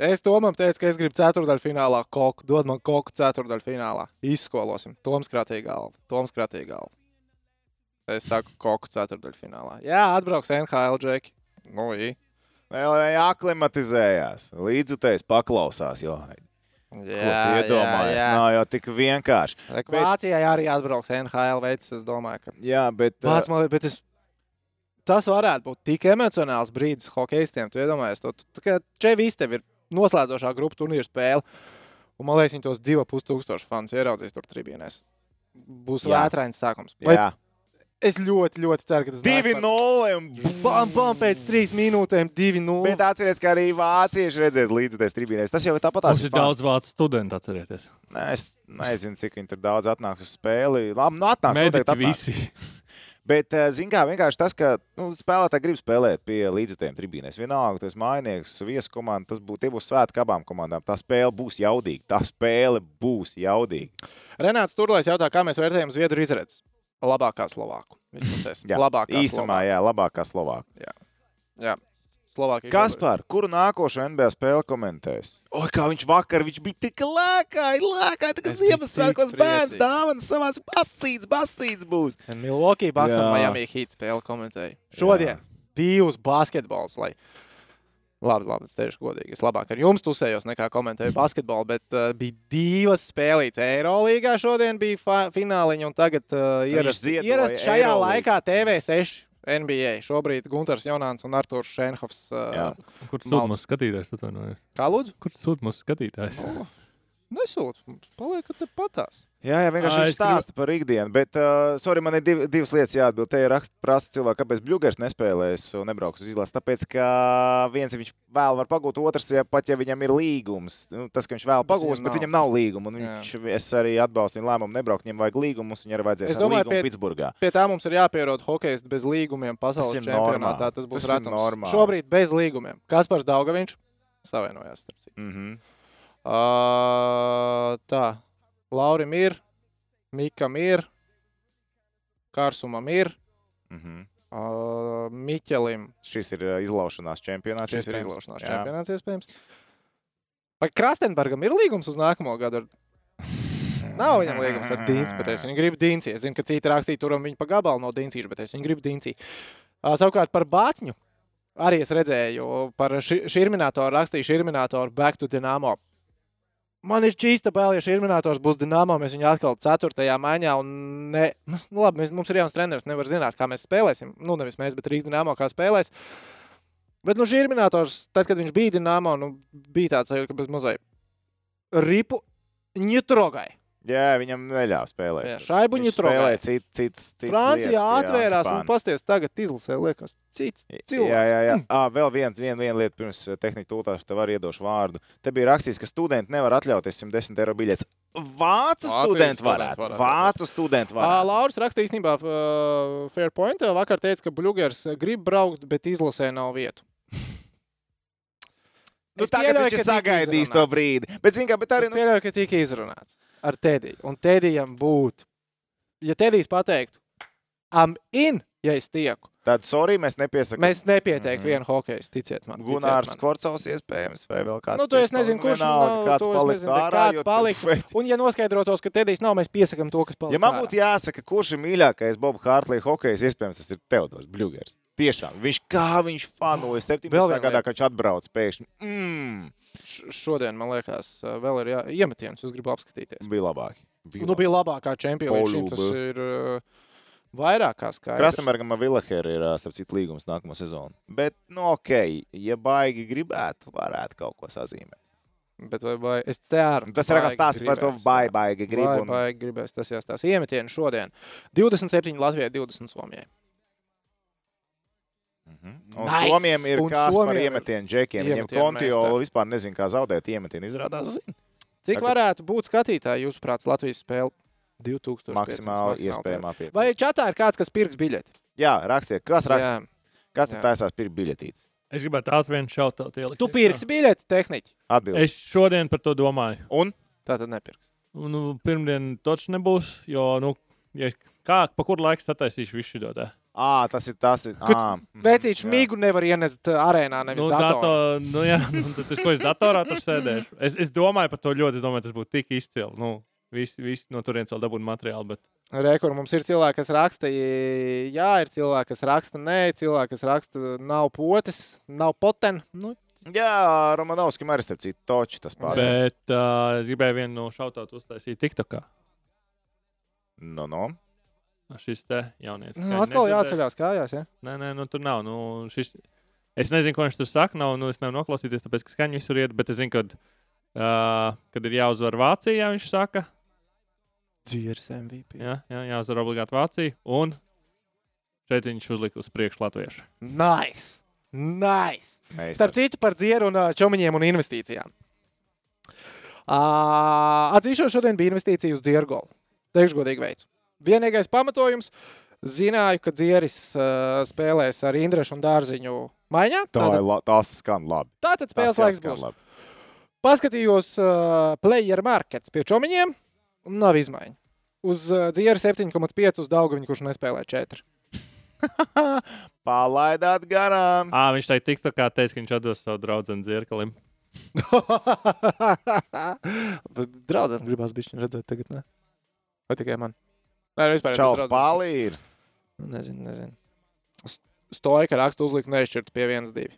es Tomam teicu, ka es gribu ceturdaļu finālā koku, dod man koku ceturdaļu finālā. Izskolosim. Toms kratīja galvu. Toms kratīja galvu. Es saku koku ceturdaļu finālā. Jā, atbrauks NHL džeki. Nu, i.
Vēl Viņa aklimatizējās, līdzutējs paklausās. Jo, jā,
jā,
jā, iedomājies, jā, jā. nav jau tik vienkārši.
Lek,
Bet-
Vācijai arī atbrauks NHL veids, es domāju, ka
Jā, bet eh, ā,
Vāc, man, liekas, bet es, tas varētu būt tik emocionāls brīdis hokeistiem. Tu iedomājies, to tu- tā kā Čevijas tev ir noslēdzošā grupu turnīra spēle. Un man liekas, viņi tos divus pus tūkstošus fans ieraudzīs tur tribīnēs. Būs
Jā.
vētrains sākums. Vai,
jā.
es ļoti, ļoti ceru, ka tas nāks par-
2-0. un
Bam, bam, pēc trīs minūtēm, divi nulle.
Bet atcerieties, ka arī vācieši redzēs līdzekļus tribīnēs. Tas jau ir tāpat
Mums ir daudz vācu studentu, atcerieties.
Nē, es nezinu, cik viņi tur daudz atnāks uz spēli. Labi, nu atnāks. noteikti
Mēģinājumi
atnāks.
visi.
Bet, zinām, vienkārši tas, ka nu, spēlētāji grib spēlēt pie līdzekļiem tribīnēs. Vienalga, tas mājiņnieks, vieskomanda, tas būs, tie būs svētki abām komandām. Tā spēle būs jaudīga. Tā spēle būs jaudīga.
Renāts Turlais jautā, kā mēs vērtējam Zviedru izredzes. Labākā Slovāku. Vismaz es. Labākā
īsumā, jā, labākā Slovākija.
Slovākija.
Kaspar, kuru nākošo NBA spēli komentēs? Oi, kā viņš vakar, viņš bija tik lēkājis, lēkājis, tā kā
Es biju
Ziemassvētkos
tik
bērns
priecīgs.
dāvana savās basīts, basīts būs.
Milwaukee Bucks un
Jā.
Miami Heat spēle komentēja. Šodien divus basketbolus. Lai... Labi, labi, es teikšu godīgi. Es labāk ar jums tusējos nekā komentēju basketbolu, bet uh, bija divas spēlītas. Eirolandā šodien bija fa- fināliņa, un tagad uh,
Viņš
ierasts
ziedoja
ierast šajā
Eirolīgu.
laikā TV6 NBA. Šobrīd Gunārs Jonāns un Arthurs Šenhofs. Uh,
Jā.
Kur
Malta.
sūta mūsu skatītājs? Atvainojos.
kā lūdzu?
Kur sūta mūsu skatītājs?
Nu, Nesūtu, paliek tepat.
Jā, jā vienkārši
Ā,
viņš
Ah, es gribu-
stāsta par ikdienu. Bet, uh, sorry, man ir div, divas lietas jāatbild. Te ir raksts, prasa cilvēks, kāpēc Bluegers nespēlēs un nebrauks uz izlases. Tāpēc, ka viens ja viņš vēl var pagūt, otrs, ja pat ja viņam ir līgums. Nu, tas, ka viņš vēl
Bet
pagūs,
viņam
bet
nav.
viņam nav līguma. un
Jā.
Viņš, es arī atbalstu viņu lēmumu nebraukt. Viņam vajag līgumu, mums viņam arī
Es
vajadzēs ar
domāju,
līgumu
pie-
Pitsburgā.
Pie tā mums ir jāpierod hokejs bez līgumiem pasaules
Tas ir
čempionātā.
normāli.
Tas būs
Tas ir
redzams.
normāli.
Šobrīd bez līgumiem. Kaspars Daugaviņš savienojās. starp citu.
Mm -hmm.
Ā, tā, Laurim ir, Mikam ir, Kārsumam ir,
Mm -hmm.
ā, Miķelim.
Šis ir ā, izlaušanās čempionāts.
Šis ir
iespējams.
izlaušanās
Jā.
čempionāts iespējams. Vai Krastenbergam ir līgums uz nākamo gadu? Ar... Nav viņam līgums ar Dīnci, bet es viņu gribu Dīnci. Es zinu, ka citi rakstīja turam viņu pa gabalu no Dīncīša, bet es viņu gribu Dīnci. Ā, Savukārt par Bātņu. Arī es redzēju, par šī minētāju rakstīju šī minētāju Back to Dynamo. Man ir čīsta bail, ja šī minētājs būs Dynamo. Mēs viņu atkal 4. maiņā. un Ne... Nu, labi, mēs, mums ir jauns treneris. Nevar zināt, kā mēs spēlēsim. Nu, nevis mēs, bet Rīgas Dynamo kā spēlēs. Bet, nu, žirminators, tad, kad viņš bija Dienāmo, nu, bija tāds sajūta, ka bez mazai ripu ņitrogai.
Jā, viņam neļāva spēlēt.
Jā, šaibu
Viņš
ņitrogai.
spēlēja cit- cits. cits lietas,
Francijā
jā,
atvērās
Japāna.
un pasties tagad izlasē, liekas, cits cilvēks. Mm.
Jā, jā, jā. À, vēl viens, vien, viena lieta, pirms eh, tehnika tūlītās tev arī iedošu vārdu. Te bija rakstīts, ka studenti nevar atļauties 110 eiro biļetes. Vācu studenti
studenti
varētu.
varētu
Vācu studenti
Ā,
varētu.
Lauris raksta īstenībā uh, Fairpoint. ā, Vakar teica, ka Bluegers grib braukt, bet izlasē nav vietu.
Nu,
Es
tagad
pieļauju,
viņš
ka
ir
tika
sagaidījis
izrunāts.
to brīdi. Bet, zini, kā, bet arī
Es
nu,
pieļauju, ka tika izrunāts ar Tediju. Un Tedijam būtu, ja Tedijs pateiktu, am in, ja es tieku,
tādu sorry mēs nepiesakām.
mēs nepieteiktu
Mhm.
mm. vienu hokeju, ticiet man. ticiet
Gunārs
man.
Korcovs iespējams vai vēl kāds.
Nu, to es
cits.
nezinu, kurš nav,
Vienalga,
to
kāds
es
paliks
nezinu, bet
ārā,
kāds
jo tu-
paliks.
bet-
Un, ja noskaidrotos, ka Tedijs nav, mēs piesakām to, kas palika.
Ja man
ārā.
būtu jāsaka, kurš ir mīļākais Bobs Hārtlīs hokejs, iespējams, tas ir Teodors Bļūgers. Tiešām, viņš kā viņš fanoja 17.
Vēl viena
gadā, kad viņš atbrauc pēkšņi. Mmm,
Š- šodien, man liekas, ā, vēl ir jā... iemetiens, es gribu apskatīties.
bija labāk. Bija
Nu, bija labākā čempiona līdz šim. Tas
Polūba.
ir uh, vairāk kā skaidrs.
Krasnodarbam ar Vilahēru ir, ā, starp citu, līgums nākamā sezona. Bet, nu, ok, ja baigi gribētu, varētu kaut ko sazīmēt. Nu,
Bet vai, vai es ceru,
Tas ir kā stāsts par to, vai baigi gribu.
Gribu,
un-
vai gribēs tas jāstāsta. Iemetienu šodien. 27 Latvijai, 20 Somijai.
Mhm. Un
Nice!
Somijiem ir
Un
kāds par
Somijiem ir
iemetienu džekiem. Viņam
iemetienu
kontio
meistari. Nu,
vispār nezina, kā zaudēt iemetienu. Izrādās, zina.
Cik
Tagad-
varētu būt skatītāji, jūsuprāt, Latvijas spēle 2000?
maksimāli iespējamā pieeja.
Vai čatā ir kāds, kas pirks biļeti?
Jā, rakstiet, kas raksta,
Jā.
kas
jā.
tad taisās pirkt biļetītes.
Es gribētu ātri vienu šautot ielikt.
Tu pirksi biļeti, tehniķi.
Atbildi.
Es šodien par to domāju.
Un
Tā tad nepirks.
Nu, pirmdien točs nebūs, jo, nu, ja, kā, pa kuru laiku sataisīšu visu šo te.
à, tas ir tas, ir,
Kur-
ā, mhm,
Vecīčs
jā.
mīgu nevar ienest ā, arēnā, nevis
Nu,
datorā.
dato, nu, jā, nu, tad es ko es datorā tur sēdēšu. Es, es domāju par to ļoti, es domāju, tas būtu tik izcili. Nu, visi, visi no turienes vēl dabūtu materiālu, bet
Rekur, mums ir cilvēki, kas raksta, jā, ir cilvēki, kas raksta, nē, cilvēki, kas raksta, nav potes, nav poten. Nu,
Jā, Romanovskim arī starp citu toči tas pats.
Bet uh, es gribēju vienu no šautām uztaisīt TikTokā.
No, no.
Šis te jaunieks.
nu,
kā
atkal
nedzirdēs.
jāceļās kājās. Ja?
Nē, nē, nu, tur nav. Nu, šis... Es nezinu, ko viņš tur saka. Nav, nu, es nevaru noklausīties, tāpēc, ka skaņa visur iet. Bet es zinu, kad, uh, kad ir jāuzvar Vācijā, viņš saka.
Dzīves MVP.
Jā, jā jāuzvar obligāti Vācija. Un šeit viņš uzlika uz priekšu latviešu.
Nice! Nice!
Meistars.
Starp citu, par dzieru un ā, čomiņiem un investīcijām. Ā, Atzīšos, šodien bija investīcija uz dzieru golu. Teikšu godīgi veicu. Vienīgais pamatojums - zināju, ka dzieris ā, spēlēs ar Indrešu un Dārziņu maiņā.
Tā ir
Tātad,
la- tas skan labi.
tātad
Tas
spēles laiks
skan
būs.
labi.
Paskatījos uh, player markets pie čomiņiem, un nav izmaiņu. Uz uh, dziera 7,5 uz Daugaviņu, kurš nespēlē 4.
Palaidāt garām.
À, viņš tajā TikTokā teica, ka viņš atdos savu draugu Zirkalim.
Draudzene gribās bišķiņu redzēt tagad, ne? Vai tikai man? Nē, nu, vispār.
Čāls Pāli ir.
Nezinu, nezinu. S- Stoika rakstu uzlikt nešķirtu pie 1-2.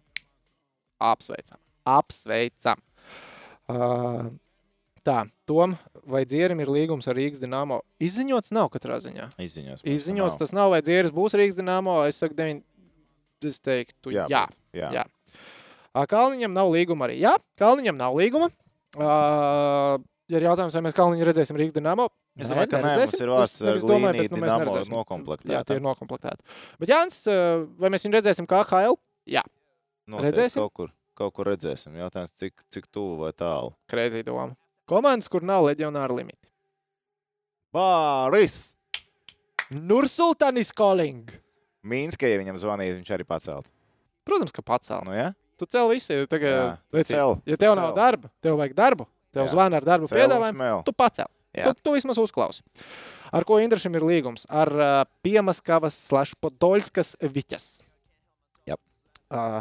Apsveicam. Apsveicam. Uh, tā, Tom, vai dzierim ir līgums ar Rīgas Dienāmo? Izziņots nav katrā ziņā.
Izziņos. mums
Izziņots
nav.
tas nav, vai dzieris būs Rīgas Dienāmo. Es saku, deviņ... es teiktu, jā.
Jā,
jā.
Jā.
jā. Ā, Kalniņam nav līguma arī. Jā, Kalniņam nav līguma. Uh, ir jautājums, vai mēs Kalniņu redzēsim Rīgas Dienāmo.
Es domāju, ka nē, mums
neredzēsim.
ir
Es
vārds ar
nevis domāju, bet,
Līniju
nu, mēs
Dinamo
neredzēsim. Jā, tie ir
nokomplektētā.
nokomplektēti. Bet Jānis, eh, vai mēs viņu redzēsim kā HL?
Noteikti
Redzēsim?
Kaut kur, kaut kur redzēsim. Jautājums, cik, cik tuvu vai tālu.
Kreizī doma. Komandas, kur nav leģionāra limiti.
Bāris!
Nursultanis Calling.
Mīnskē, ja viņam zvanīja, viņš arī pacelt.
Protams, ka pacēl.
Nu, ja?
Tu cēl visu. Tagad,
Jā, tu
vecīt,
cel,
ja
tu
tev nav
cel.
darba, tev vajag darbu, tev
Jā.
zvana ar darbu
Cel un
Nu, piedāvājumu,
smel.
tu pacēl.
Jā.
Tu, tu vismaz uzklausi. Ar ko Indrišam ir līgums? Ar uh, Piemaskavas slash Podolskas viķas.
Jap.
Uh,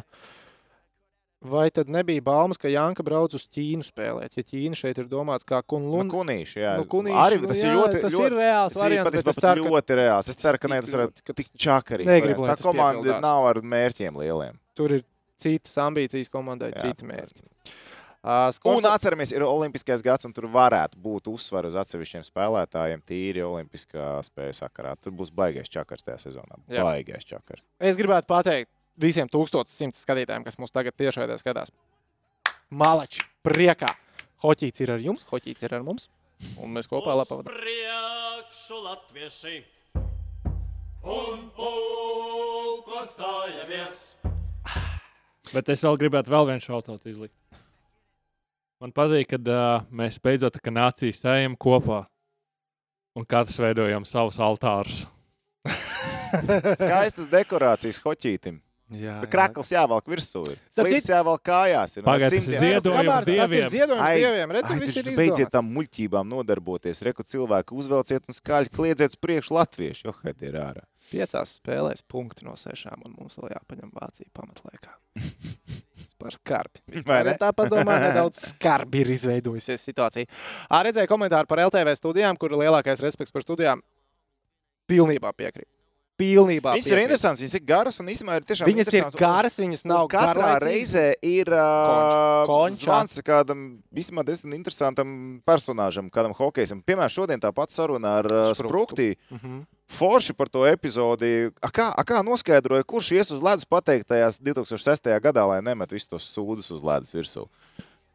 vai tad nebija baumas, ka Janka brauc uz Ķīnu spēlēt? Ja Ķīna šeit ir domāts kā
Nu,
Kunlun,
kunīši, jā.
Nu,
es-
kunīši,
arī
nu,
tas
jā,
ir ļoti,
tas
ļoti,
ir reāls
tas ir
variants,
patiesībā
bet es
pat
ceru, ka
ļoti reāls. Es ceru, ka ne,
tik
tas ir
ļoti, ka
tik
tas-
čakarīgs.
Negribu,
variants.
lai
Tā
tas
komanda
piepildās.
nav ar mērķiem lieliem.
tur ir citas ambīcijas komandai,
Jā.
citi mērķi. Uh,
Un
Skots,
atceramies, ir olimpiskais gads, un tur varētu būt uzsvars uz atsevišķiem spēlētājiem tīri olimpiskā spēja sakarā. Tur būs baigais čakars tajā sezonā.
Jā.
Baigais čakars.
es gribētu pateikt, visiem 1100 skatītājiem, kas mūs tagad tiešraidē skatās. Malači, priekā! Hoķīts ir ar jums, hoķīts ir ar mums. Un mēs kopā lapām.
priekšu latvieši un pulko stājamies.
Bet es vēl gribētu vēl vienu šautautu izlikt. Man patīk, kad uh, mēs beidzot kā nācija sējam kopā un katrs veidojam savus altārus.
Skaistas dekorācijas hoķītim.
Jā,
Bet Krakls jāvelk virsū. ir.
Starp
Slīdis jāvelk kājās. ir, un ar
Pagaid, tas ir
cimdiem-
ziedojums
Kamēr tas ir
dieviem.
ziedojums
Ai,
dieviem, redz,
Ai,
tur viss
taču
ir
Beidziet
izdevies.
tam muļķībām nodarboties. Reku cilvēku uzvelciet un skaļi kliedziet uz priekšu latviešu. Jo, kad ir ārā.
Piecās spēlēs punkti no sešām, un mums vēl jāpaņem Vācija pamatlaikā. Par skarbi.
Vai
Vispār,
ne?
ja tā padomā, nedaudz skarbi ir izveidojusies situācija. Ā, Redzēju komentāru par LTV studijām, kur lielākais respekts par studijām. Pilnībā piekrīt. Pilnībā
Viņas ir
piekrīt.
interesantas, viņas ir garas un īstenībā ir tiešām
Viņas ir
interesantas. Un-
garas, viņas nav
Un Katrā
garlaicīgas.
reizē ir uh,
Konča.
zvans kādam vismaz diezgan interesantam personāžam, kādam hokejam. Piemēram, šodien tāpat saruna ar uh, Sprūkti.
Mhm.
Forši par to epizodi. A kā, a kā noskaidroja, kurš ies uz ledus pateiktajās 2006. gadā, lai nemet visus tos sūdus uz ledus virsū?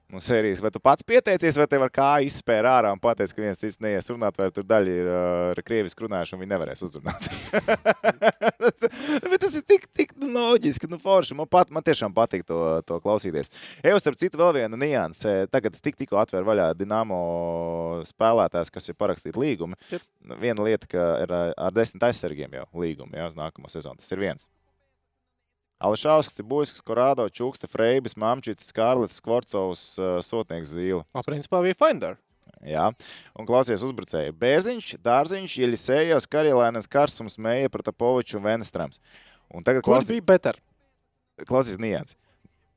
No sērijas, vai tu pats pieteicies, vai tev ar kā izspēra ārā un pateici, ka viens cits neies runāt, vai tur daļa ir uh, krieviski runājuši un viņi nevarēs uzrunāt? Bet tas ir tik, tik nu, loģiski, nu, forši. Man, pat, man tiešām patīk to, to klausīties. Evo, starp citu, vēl viena nianse. Tagad tik, tikko atver vaļā Dienāmo spēlētājs, kas ir parakstīti līgumi. Nu, Viena lieta, ka ir ā, ar desmit aizsargiem jau līguma jau uz nākamo sezonu. Tas ir viens. Alešauskas, Bujskas, Korādo, Čukste, Freibis, Mamčits, Kārlis, Skvorcovs, ā, Sotnieks Zīle.
O, principā bija Finder.
Jā, un klausies uzbrucēji. Bērziņš, Dārziņš, Jelisejos, Karjelēnas, Karsums, Mēja, Pratapovičs un Venestrams. Un tagad
Kur
klausies,
bija better?
klausies nians.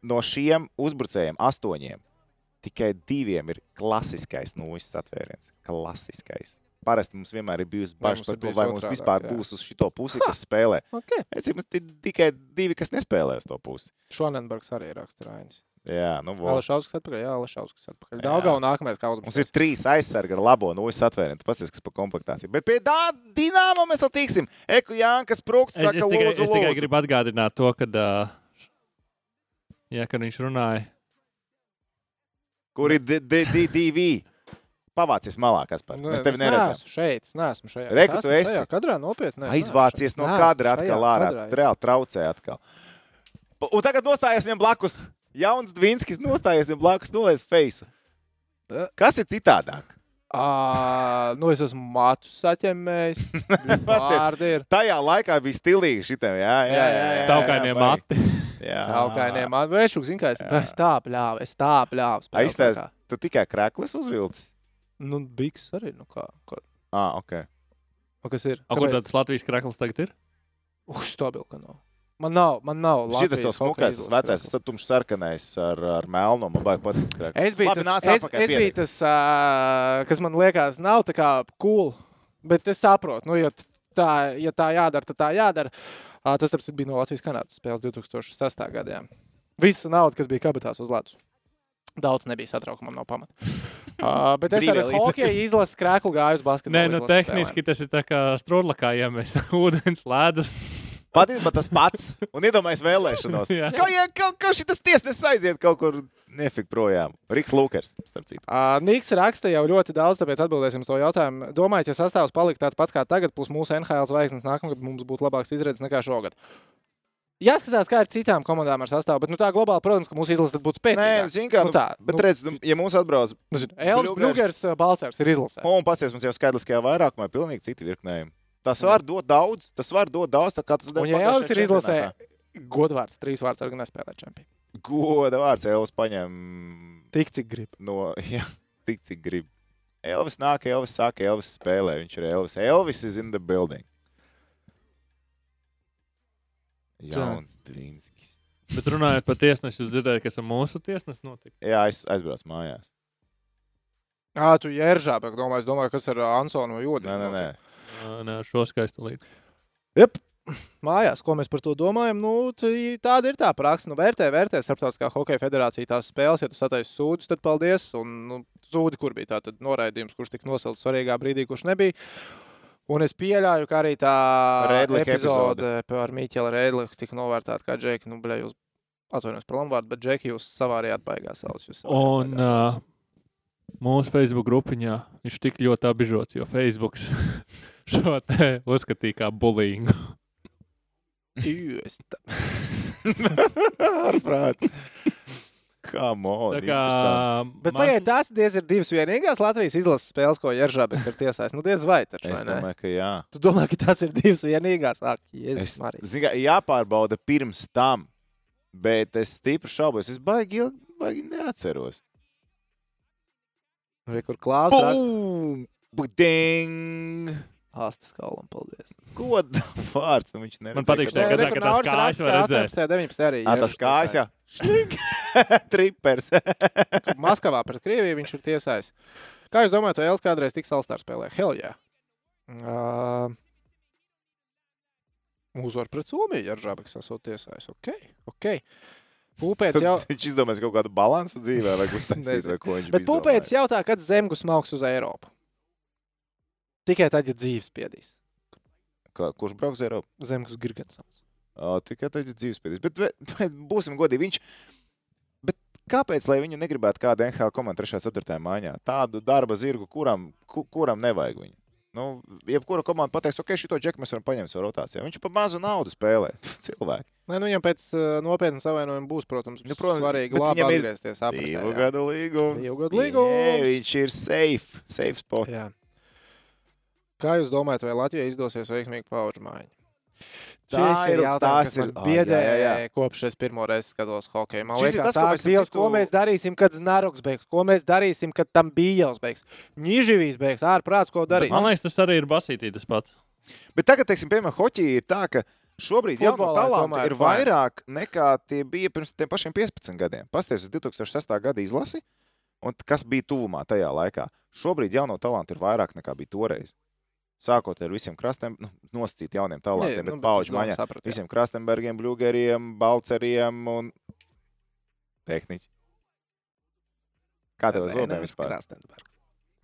No šiem uzbrucējiem astoņiem tikai diviem ir klasiskais nūjas atvēriens. Klasiskais. Parasti mums vienmēr ir bijusi
Vai
bažas
mums
par
ir
to,
bijis
vai mums
otrādāk,
vispār
jā.
būs uz šito pusi, kas spēlē.
Okay.
Es domāju, ka tikai divi, kas nespēlē uz to pusi.
Šonenbergs arī raksta Rainis.
Jā, nu, vo.
Alašauskas atpakaļ, jā, Alašauskas atpakaļ.
Jā.
Daugā un nākamais kā
Mums
uzbrukums.
ir trīs aizsargi ar labo nu, nūjas atvērienu. Tas ir kas par komplektāciju. Bet pie tā dīnāma mēs vēl tiksim. Eku Jānis Prūks
Es,
saka,
es, tikai,
lūdzu,
es tikai
lūdzu.
gribu atgādināt to, kad, uh, jā, kad viņš runāja.
Kur ir di- di- di- divi? Pavācies malā, kas par to. Mēs tevi neredzam.
Esmu Nu, šeit, es neesmu šajā.
Re, ka
Es
tu
neesmu
esi.
šajā Kadrā nopietni. neesmu
Aizvācies
šajā.
no
Neesmu
kadra
šajā
atkal ārā.
kadrā,
Tu Reāli traucē atkal. Pa- Un tagad nostājies viņam blakus. Jauns Dvinskis nostājies viņam blakus, nulēs feisu.
Tā.
Kas ir citādāk?
Ā, nu es esmu matu saķemmējis.
Pasties.
Vārdi ir.
Tajā laikā bija stilīgi šitam, jā, jā, jā. jā, jā
Taukainie
baigi.
mati.
Jā.
Alkainē, man vēršuk, zin, kā es,
Jā.
es tā pļāvu, es tā pļāvu. spēlēju
Aizstāst,
laikā.
tu tikai krāklis uzvilcis.
Nu, biks arī, nu kā. kā.
Ah, ok.
O, kas ir?
A, Kur tāds Latvijas krakls tagad ir?
Uz stabilu, ka nav. Man nav, man nav.
Šis jau
Latvijas hokeja
smukais, tas
izlases
vecais,
krāklis.
tas tumšs sarkanais ar, ar melnu, man baigi patīk krāklis.
Es biju
Labi,
tas,
nāc
es,
atpakaļ,
es biju
piedod.
tas ā, kas man liekas, nav tā kā cool. Bet es saprotu, nu, ja t- tā, ja tā jādara, tad tā jādara. Ā, Tas, starp citu, bija no Latvijas-Canādas spēles 2006. gadā. Visa nauda, kas bija kabatās uz Latvijas. Daudz nebija satraukuma no pamata. Uh, bet es
Brīvie
ar
līdzekļi.
hokeju izlasu krēklu gāju uz basketbolu.
Nē, nu
izlases
tehniski tas ir tā kā strūklakā, ja mēs ūdens lēdus.
Patiesībā tas pats. Un iedomājies vēlēšanos.
Jā.
Kā jau ka, ka šis tiesnesis aiziet kaut kur nefik projām? Riks Lūkers, starp citu.
Uh, Nīks raksta jau ļoti daudz, tāpēc atbildēsim uz to jautājumu. Domājat, ja sastāvs paliktu tāds pats kā tagad, plus mūsu NHL zvaigznes nākamgad mums būtu labāks izredzes nekā šogad? Jāskatās, kā ir citām komandām ar sastāvu, bet nu, tā globāli, protams, ka mūsu izlase būtu
Nē,
spēcīga.
zini, kā.
Nu
Nu,
tā,
bet
nu-
redz, nu, ja mums atbrauc,
Elvis
Bļugars.
Brūgers, Balcārs ir izlasē.
un pasties, mums jau skaidriskajā vairākumā ir pilnīgi citi virknējumi. Tas var dot daudz, tas var dot daudz, tā kā tas
Un ja Elvis ir izlasē, godvārds, trīs vārds arī nespēlē čempionu.
Goda vārds Elvis paņem
Tik cik grib.
no, jā, tik cik grib. Elvis nāk, Elvis saka, Elvis spēlē, viņš ir Elvis. Elvis is in the building. Jauns Dvinskis.
Bet runājot par tiesnesi, jūs dzirdējāt, kas ar mūsu tiesnesi notika.
Jā, aiz, aizbrauc mājās.
Ā, tu jēržā, bet domāju, es domāju, kas ar Ansonu vai Jodu.
Nē, nē, nē.
Ā, Nē, ar šo skaistu līdzi.
Jep. Mājās, ko mēs par to domājam, nu, tī- tāda ir tā praksa. Nu, vērtē, vērtē starptautiskā hokeja federācija tās spēles. Ja tu sataisi sūdus, tad paldies. Un nu, sūdi, kur bija tā noraidījums, kurš tika nosaukts svarīgā brīdī, kurš nebija. Un es pieļāju, ka arī tā
Redlika
epizode par Miķelu Rēdliku tika novērtēta kā Džeki. Nu, blē, jūs atvainojos par Lombardu, bet Džeki jūs savārījāt baigās savus. Jūs savārījāt
Un
baigās savus.
uh, mūsu Facebook grupiņā viņš tik ļoti apbižots, jo Facebook šo te uzskatīja kā bulīgu.
Jū, es tā-
Ar prātu. Come on.
Tā kā
interesanti.
Bet
man-
pagaidiet, tās diez ir divas vienīgās Latvijas izlases spēles, ko Jeržābeks ir tiesājis. Nu, diez vai taču, vai
Es
ne?
domāju, ka jā.
Tu domā, ka tās ir divas vienīgās? Ak, Jēzus,
Es,
Marija.
zin, kā, jāpārbauda pirms tam, bet es stipri šaubos. Es baigi, ilgi, baigi neatceros.
Re, Kur klāsts ar
Bum! Ding!
Astas kaulam, paldies.
Ko tā vārds? Nu, viņš neredzēja,
patīk
ka
šie
tā-
Nē,
gadā,
re,
kad
kur
tās
Nauris
kājas
raksta,
var redzēt.
18. 19. arī.
Ā, tas
Jeržabeks
kājas, jā. Šlink! Trippers.
tiesāja. Maskavā pret Krieviju viņš ir tiesājis. Kā jūs domājat, vai Elsa kādreiz tiks Alstāra spēlē? Hell jā. Uh, uzvar pret Somiju, Jeržābeks esot tiesājis. Ok, ok. Pūpēc jau...
Viņš izdomās kaut kādu balansu dzīvē, vai uztaisīt, vai ko viņš
Bet pūpēcis jautā, kad zemgus mauks uz Eiropu. Tikai tad, ja dzīves piedīs.
Kā, kurš brauks uz Eiropu?
Zemgus Gigantsons.
Ā, Tikai tad ir dzīves pēdējais. Bet, bet, bet būsim godīgi, viņš. Bet kāpēc lai viņu negribētu kāda NHL komanda 3. un 4. mājā? Tādu darba zirgu, kuram, ku, kuram nevajag viņu. Nu, jebkura komanda pateiks, ok, šito džeku mēs varam paņemt savā rotācijā. Viņš par mazu naudu spēlē. Cilvēki.
Nē, nu viņam pēc uh, nopietnas avainojuma būs, protams,
Nu,
nu,
protams,
protams svarīgi
bet
labi
viņam ir
atgriezties apritē.
Divu
jā.
gadu līgums.
Divu gadu
Jē,
līgums.
viņš ir safe. Safe spot.
Jā. Kā jūs domājat, vai Latvijai izdosies veiksmīgi paudžu maiņa?
Tā ir- tās ir- Ā, jā,
biedē,
jā, jā.
kopš es pirmo reizi skatos hokeju. Man
Šis
liekas,
ir
tas,
tas, ko mēs,
tas,
starp
dievs,
citu-
ko mēs darīsim, kad Znaroks beigs, ko mēs darīsim, kad tam bija jau beigs. Ņiživīs beigs, ārprāts, ko darīs.
Man liekas, tas arī ir basītī tas pats.
Bet tagad, teiksim, piemēram, hoķī ir tā, ka šobrīd jau
Futbolā, es
talanti
domāju,
ir
ir fine.
vairāk nekā tie bija pirms tiem pašiem 15 gadiem. Pastāstiet, uz 2006. gada izlasi, un t- kas bija tuvumā tajā laikā. Šobrīd jauno talantu ir vairāk nekā bija toreiz. Sākot ar visiem krastiem, nu, nosacīt jauniem
Nu,
talantiem, bet paudžu maiņā.
sapratu.
Visiem krastenbergiem, blugeriem, balceriem un tehniķiem. Kā tev zudām vispār?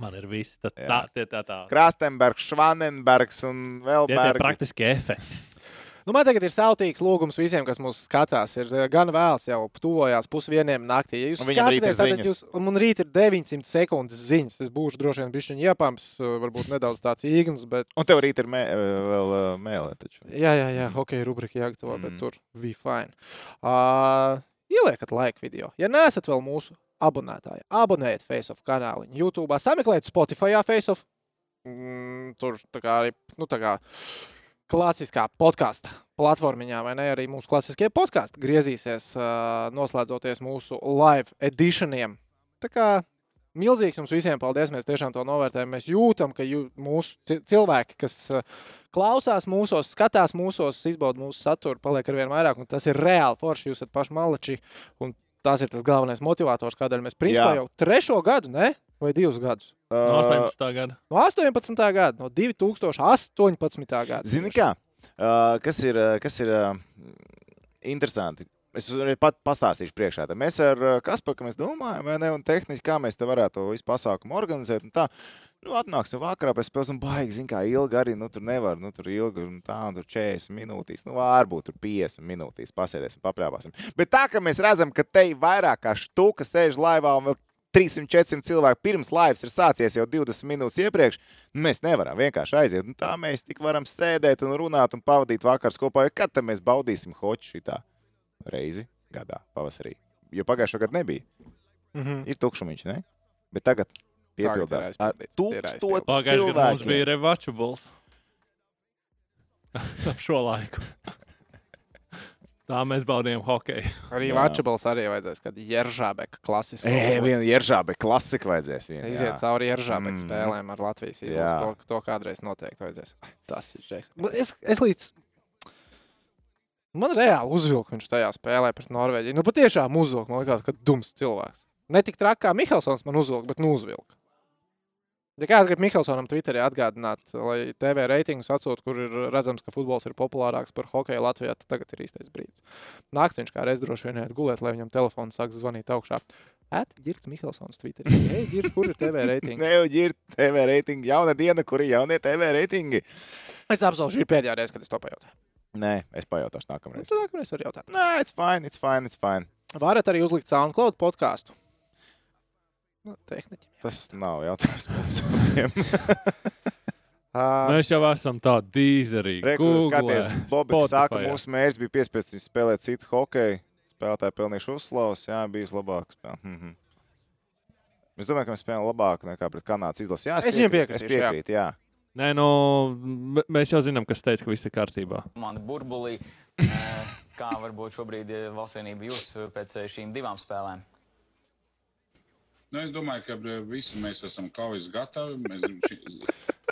Man ir viss tas
Jā.
tā, tie tā, tā.
Krastenbergs, Švanenbergs un vēl
Tie ir praktiski efekti.
Nu, man tagad ir sautīgs lūgums visiem, kas mūs skatās. Ir eh, gan vēls, jau tuvojās pusdienām naktī. Ja jūs
Un viņam rīt ir
skatāties, tad
ziņas.
jūs, un man rīt ir 900 sekundes ziņas. Es būšu droši vien bijis iepams, eh, varbūt nedaudz tāds īgns, bet.
Un tev rīt ir mē, eh, vēl ā, mēlē. Taču.
Jā, jā, jā, hockey rubrika jāgatavo,
Mm.
bet tur bija fine. Uh, ieliekat laiku video. Ja neesat vēl mūsu abonētāji, abonējiet FaceOff kanālu, YouTube, sameklējiet Spotify FaceOff. Mm, tur tā kā arī nu, tā kā klasiskā podkāstu platformā, vai ne? Arī mūsu klasiskie podkāsti griezīsies, uh, noslēdzoties mūsu live editioniem. Tā kā milzīgs jums visiem paldies. Mēs tiešām to novērtējam. Mēs jūtam, ka jū, mūsu ci- cilvēki, kas uh, klausās mūsos, skatās mūsos, izbauda mūsu saturu, paliek ar vien vairāk. un Tas ir reāli forši. Jūs esat paši maleči. un Tas ir tas galvenais motivators, kādēļ mēs principā
Jā.
jau trešo gadu, ne? vai divus gadus.
No
Ā,
18. gada.
No 18. gada, no 2018. gada.
Zini, kā? Uh, kas ir, uh, kas ir uh, interesanti? Es arī pat pastāstīšu priekšā. Tad Mēs ar uh, Kasparu, ka mēs domājam, vai ne, un tehniski, kā mēs te varētu to visu pasākumu organizēt. un Tā, nu, atnāksim vakarā pēc spēles, un baigi, zin, kā ilgi arī, nu, tur nevar, nu, tur ilgi, un tā, un tur 40 minūtīs, nu, varbūt tur 50 minūtīs pasēdēsim, paprāvāsim. Bet tā, ka mēs redzam, ka te ir vairāk kā štuka sēž laivā, un vēl 300-400 cilvēku pirms laivas ir sācies jau 20 minūtes iepriekš, nu, mēs nevaram vienkārši aiziet. Un tā mēs tik varam sēdēt un runāt un pavadīt vakars kopā, jo kad tad mēs baudīsim hoci šitā reizi gadā, pavasarī. Jo pagājušā gada nebija.
Mm -hmm.
Ir tukšumiņš, ne? Bet tagad piepildās
ir
ar
aizpildīts, ir aizpildīts.
tūkstošu
Pagājušajā gadā mums bija
cilvēku.
revačables. Ap šo laiku. Tā mēs baudījām hokeju.
Arī
Jā.
Vācijā arī vajadzēs, kad Jeržābeka klasiski
Ei, viena ieržābe, klasika vajadzēs. Vien,
Iziet cauri Jeržābeka
Mhm.
mm. spēlēm ar Latvijas
Jā.
izlasi. To, to kādreiz noteikti vajadzēs. Ai, Tas ir Džeks. Man- Es, es līdz... Man reāli uzvilka viņš tajā spēlē pret Norvēģiju. Nu, patiešām uzvilka. Man liekas, ka dums cilvēks. Ne tik traki kā Mihelsons man uzvilka, bet nu uzvilka. Ja kāds grib Mihelsonam Twitterī atgādināt, lai TV reitingus atsūta, kur ir redzams, ka futbols ir populārāks par hokeju Latvijā, tad tagad ir īstais brīdis. Nakts viņš kā reiz droši vien iet gulēt, lai viņam telefons sāks zvanīt augšā. Atgirts Mihelsons Twitterī. Ei, Girts, kur ir TV reitingi?
Ne jau ir TV reitingi. Jauna diena, kur ir jaunie TV reitingi.
es apsolu, šī ir pēdējā reize, kad es to pajautāju.
Nē, es pajautāšu nākamreiz.
Nu, Tad nākamreiz var jautāt.
Nē, it's fine, it's fine, it's fine.
Varat arī uzlikt SoundCloud podkāstu. Nu, tehniķi.
Tas nav jautājums mums. abiem.
Uh,
Mēs jau esam tādi dīzerīgi.
Nu,
Re, kur Skaties,
eh,
Bobs saka, mūsu mērķis bija piespiest viņu spēlēt citu hokeju. Spēlētāji pelnījuši uzslavas, jā, bijis labāks. Mhm. Es domāju, ka mēs spēlējām labāk nekā pret Kanādas izlasi. Jā,
Es viņiem
piekrītu, Es
piekritīšu, jā.
piekrītu, jā.
Nē, nu, m- mēs jau zinām, kas teica, ka viss ir kārtībā.
komandu burbulī. Eh, Kā varbūt šobrīd eh, valsts vienība jūs eh, pēc eh, šīm divām spēlēm?
Nu, es domāju, ka eh, visi mēs esam kaujas gatavi. Mēs, ši-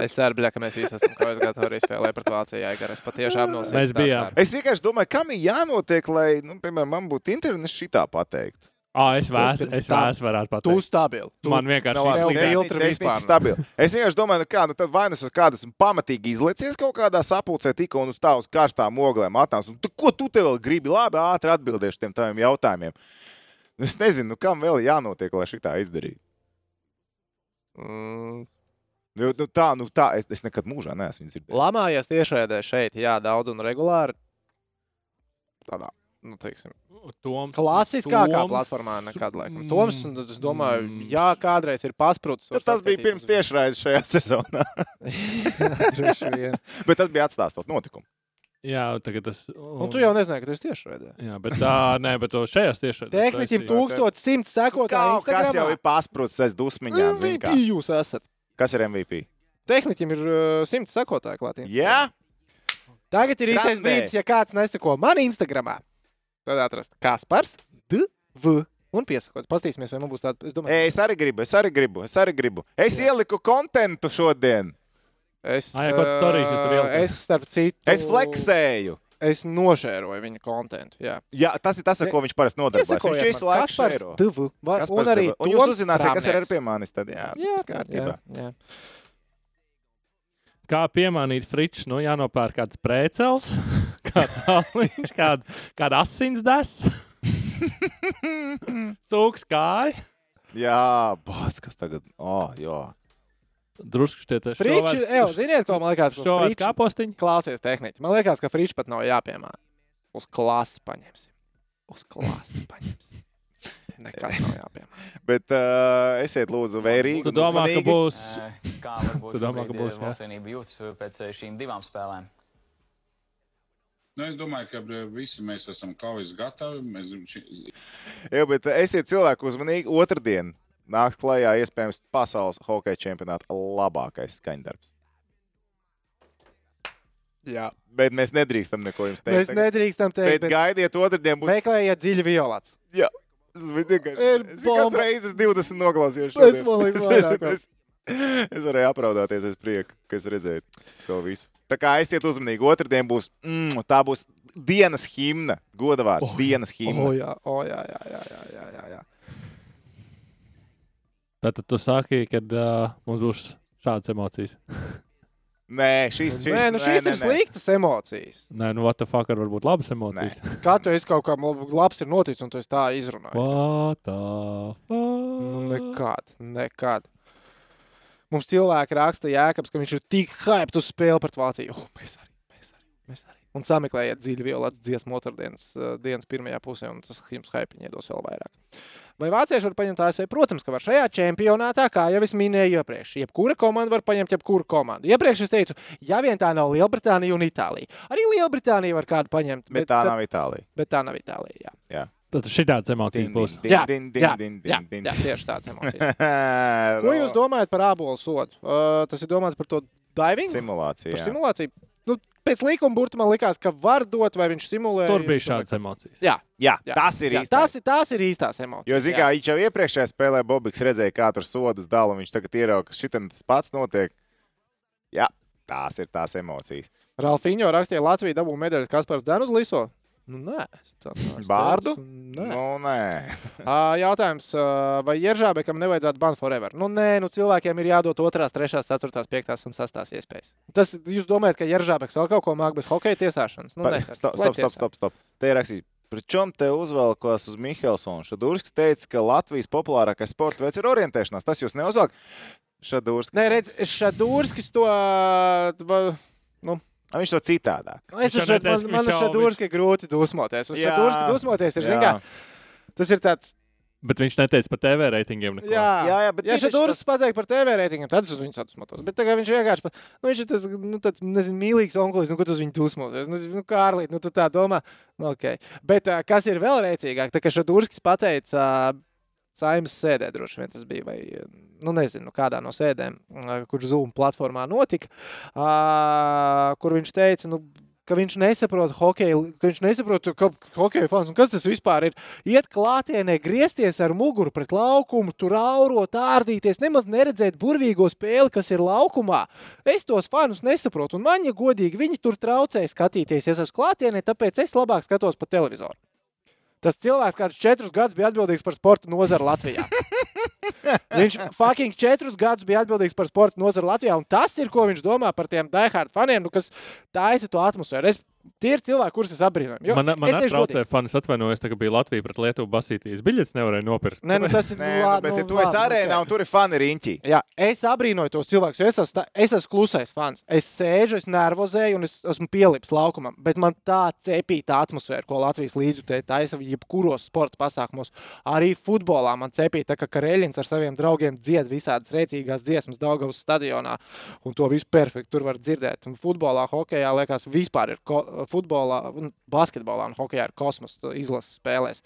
es ceru, bļa, ka mēs visi esam kaujas gatavi arī spēlēt pret Vācijā. Gar. Es patiešām no sirds
Mēs
tā
bijām.
ceru.
Es vienkārši domāju, kam ir jānotiek, lai, nu, piemēram, man būtu internets šitā pateikt.
Ā, es vēs,
pirms
es
tam.
vēs varētu
Tu
pateikt.
stabili. Tu
Man
Nav
vienkārši
labi,
Tev
tehni-
filtri
tehniski
vispār nu. nav.
stabili. Es vienkārši domāju, nu, kā, nu tad vainas uz kādas pamatīgi izliecies kaut kādā sapulcē, tikko un uz tā uz karstām oglēm atnāc. Un tu- Ko tu te vēl gribi? Labi, ātri atbildēšu tiem taviem jautājumiem. Es nezinu, nu, kam vēl ir jānotiek, lai šitā izdarītu.
Mm,
Nu, nu, tā, nu, tā, es, es nekad mūžā neesmu viņu dzirdējis.
Lamājies tiešraidē šeit, jā, daudz un regulāri. Tādā, nu, teiksim,
Toms,
klasiskākā
Toms-
platformā nekad, laikam. Toms, un tad es domāju,
Mm.
jā, kādreiz ir pasprūts.
Tad tas bija pirms tiešraides šajā sezonā.
tiešām.
Bet tas bija atstāstot notikumu.
Jā, tagad tas.
Un tu jau nezināji, ka tu esi tiešraidē.
Jā, bet tā, nē, bet to šajās tieši.
Tehniķim 1100 sekotāju
Kaut kas
Instagramā.
jau ir pasprūts aiz dusmiņām. zini
MVP
kā.
jūs esat.
Kas ir MVP?
Tehniķim ir uh, 100 sekotāju klātien.
Jā,
Tagad ir īstais
Grandē.
brīdis, ja kāds neseko man Instagramā. Tad atrast Kaspars, DV un piesakot. Pastīsimies, vai man būs tāda. Es domāju,
Ei, es arī gribu, es arī gribu, es arī gribu. Es Jā. ieliku kontentu šodien.
es.
Ai, ja kaut kāds
ā,
stories jūs tur ielikat.
Es starp citu.
Es fleksēju.
Es nošēroju viņa kontentu. Jā,
Jā, tas ir tas, ar ko viņš parasti nodarbojas. Viņš visu laiku
Kaspars,
šēro.
DV. va-
Kaspars
Un arī.
Deva. un jūs
Toms
uzzināsiet, kas ir ar
Kramnieks.
pie manis. Tad, jā,
Jā,
tas kārtībā.
jā.
Kā piemānīt fričs, nu jānopērk kāds prēcels, kāds aliņš, kāda, kāda asins des. Tūks kāja.
Jā, bāc, kas tagad. O, jā.
Drusku šķiet, ka
Fričs, jau, ziniet, ko man liekas,
Šo
ka
vārdu
Fričs
kāpostiņu.
Klausies, tehniķi. Man liekas, ka frīčs pat nav jāpiemāna. Uz klases paņemsim. Uz klases paņemsim. Nekas nav jāpiemāna.
Bet uh, esiet lūdzu vērīgi.
Tu
un
domā, ka
uzmanīgi.
būs.
Eh, Kā varbūt
Tu domā, ka
šobrīd
būs,
eh,
jā?
valsts vienība jūs eh, pēc eh, šīm divām spēlēm?
nu, es domāju, ka eh, visi mēs esam kaujas gatavi. Mēs, ši-
Jā, bet esiet cilvēki uzmanīgi. Otradien nāks klajā iespējams pasaules hokeja čempionāta labākais skaņdarbs.
Jā.
Bet mēs nedrīkstam neko jums teikt.
Mēs nedrīkstam
Bet,
teikt,
bet
bet
gaidiet, otrdien būs.
meklējiet dziļi violāts.
Jā, tas bija vienkārši.
Ir
Es
bomba.
vienkārši reizes 20 noklausījos.
Es
šodien.
man liekas,
Es-
vairāk vēl.
es- Es varēju apraudāties aiz prieka, ka es redzēju to visu. Tā kā aiziet uzmanīgi. Otradien būs mm, tā būs dienas himna. Godavārds, oh,
O
dienas himna.
jā, o jā, jā, jā, jā, jā, jā, jā.
Tad tu saki, ka uh, mums būs šādas emocijas.
Nē, šīs, šīs,
Nē, nu šīs ir sliktas emocijas.
Nē, nu, what the fuck, var būt labas emocijas.
Kā tu esi kaut kam lab- labs ir noticis un tu esi tā izrunājis?
What the
Nu,
fuck?
nekad, nekad. Mums cilvēki raksta Jēkabs, ka viņš ir tik hyped uz spēli pret Vāciju. Oh, mēs arī, mēs arī, mēs arī. Un sameklējiet dziļi violāts dziesmu otrdienas uh, dienas pirmajā pusē, un tas jums hypiņi iedos vēl vairāk. Vai vācieši var paņemt ASV? Protams, ka var šajā čempionātā, kā jau es minēju iepriekš, jebkura komanda var paņemt jebkuru komandu. Iepriekš es teicu, ja vien tā nav Lielbritānija un Itālija. Arī Lielbritānija var kādu paņemt,
Bet tā nav Itālija.
bet tā nav Itālija. Jā,
Tad šitādas emocijas būs.
Jā,
din,
jā,
din,
jā,
din, din.
jā, tieši tāds emocijas. Ko jūs domājat par ābolu sodu? Uh, tas ir domāts par to divingu?
Simulācija.
Par
jā.
simulāciju. Nu, pēc līkuma burta man likās, ka var dot, vai viņš simulē.
Tur bija šādas emocijas.
Jā,
Jā,
jā,
tas ir
jā,
īsti.
tās, ir- tās ir īstās emocijas.
Jo, zināmā mērā, viņš jau iepriekšējā spēlē Bobiks redzēja, kā tur sodus dala, un viņš tagad ierauga, ka šitam tas pats notiek. Jā, tās ir tās emocijas.
Ralfīņo rakstīja, Latvija dabūja medaļas Kaspars Dēnu uz Liso. Nu, nē, es tā neesmu
Bārdu?
teicis. Nē. No.
Nu, nē.
Jautājums, ā, vai Jeržābekam nevajadzētu ban forever? Nu, nē, nu cilvēkiem ir jādod 2, 3, 4, 5 un 6 iespējas. Tas, jūs domājat, ka Jeržābeks vēl kaut ko māca bez hokeja tiesāšanas? Nu,
Pa-
nē, tas-
Stop,
lai
stop, stop,
tiesā.
stop, stop. Te ir rakstīts, Pret čom te uzvelkos uz Mihelsonu? Šadurskis teica, ka Latvijas populārākais sporta veids ir orientēšanās. Tas jūs neuzvelk. Šadurskis.
Nē, redz, Šadūrskis to. va-
Viņš to citādāk.
Nu, Es
Viņš jau
uz šo
neteica,
man,
ka
man uz
viņš jau-
Šadūrski ir grūti dusmoties. Uz
Jā.
Šadūrski dusmoties ir, zin kā, tas ir tāds.
Bet viņš neteica par TV reitingiem. Neko.
Jā,
Jā, jā, bet
ja
tieši
Šadūrskis pateiks par TV reitingiem, tad es uz viņu sadusmotos. Bet tagad viņš vienkārši, pa- nu, viņš ir tas, nu, tāds, nezinu, mīlīgs onklis, nu, ko tu uz viņu dusmoties. Nu, nu Kārlīt, nu, tu tā domā. Nu, okay. Bet ā, kas ir vēl rēcīgāk, tā kā Šadūrskis pateica. ā, Saimnes sēdē droši vien tas bija, vai nu, nezinu, kādā no sēdēm, ā, kur Zoom platformā notika, ā, kur viņš teica, nu, ka viņš nesaprot hokeju, ka viņš nesaprot, ka hokeja fans, un kas tas vispār ir. Iet klātienē, griezties ar muguru pret laukumu, tur aurot, ārdīties, nemaz neredzēt burvīgo spēli, kas ir laukumā. Es tos fanus nesaprotu, un man, ja godīgi, viņi tur traucē skatīties, ja es esmu klātienē, tāpēc es labāk skatos pa televizoru. Tas cilvēks kādus četrus gadus bija atbildīgs par sporta nozaru Latvijā. Viņš fucking četrus gadus bija atbildīgs par sporta nozaru Latvijā, un tas ir, ko viņš domā par tiem diehard faniem, nu, kas taisa to atmosfēru. Es, tie ir cilvēki, kurus es abrīnoju. Jo
Man, man
es teikšu
atraucēja fans, atvainojos, tā, ka bija Latvija pret Lietuvu basīties. Biļets nevarēja nopirkt.
Nē, nu tas ir
Nē, nu,
labi.
bet ja tu esi arēnā un tur ir fani riņķi.
Jā, es abrīnoju tos cilvēkus, jo es esmu, tā- es esmu klusais fans. Es sēžu, es nervozēju, un es esmu pielips laukumam. Bet man tā cepīta atmosfēra, ko Latvijas līdzjutēji taisa jebkuros sporta pasākumos, arī futbolā man cepīta, tā ka Kareļins ar saviem draugiem dzied visādas rēcīgās dziesmas Daugavas stadionā, un to visu perfekti tur var dzirdēt. Un futbolā, hokejā, liekas, vispār ir ko, futbolā, un basketbolā un hokejā ir kosmos izlases spēlēs.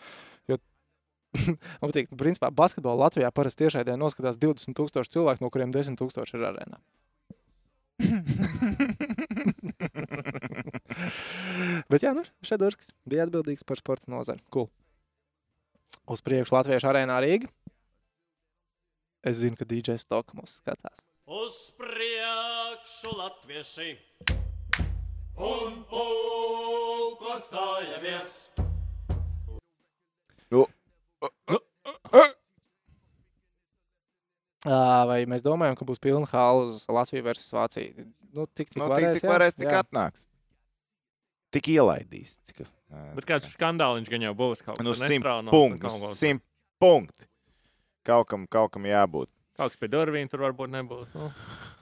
Man patīk, ka principā basketbolā Latvijā parasti tiešai dienā noskatās 20,000 cilvēku, no kuriem 10,000 ir arēnā. Bet jā, nu, Šedurskis bija atbildīgs par sporta nozari. Cool. Uz priekšu Latvijas arēnā Rīga. Es zinu, ka DJs Stoka mums skatās.
Uz priekšu latvieši un pulko stājamies.
Nu. Ā, Vai mēs domājam, ka būs pilna hala uz Latviju versus Vāciju? Nu, tik, cik
Nu, tik,
varēs,
cik
jā.
varēs, tik
Jā.
atnāks. Tik ielaidīs. Cik, ā,
Bet kāds skandāliņš gan jau būs kaut
nu,
kas
simt
nestraunos,
punkti.
kaut
nu,
kas-
Simt punkti. Kaut kam, kaut kam jābūt.
Kaut kas pie durvīm tur varbūt nebūs. Nu.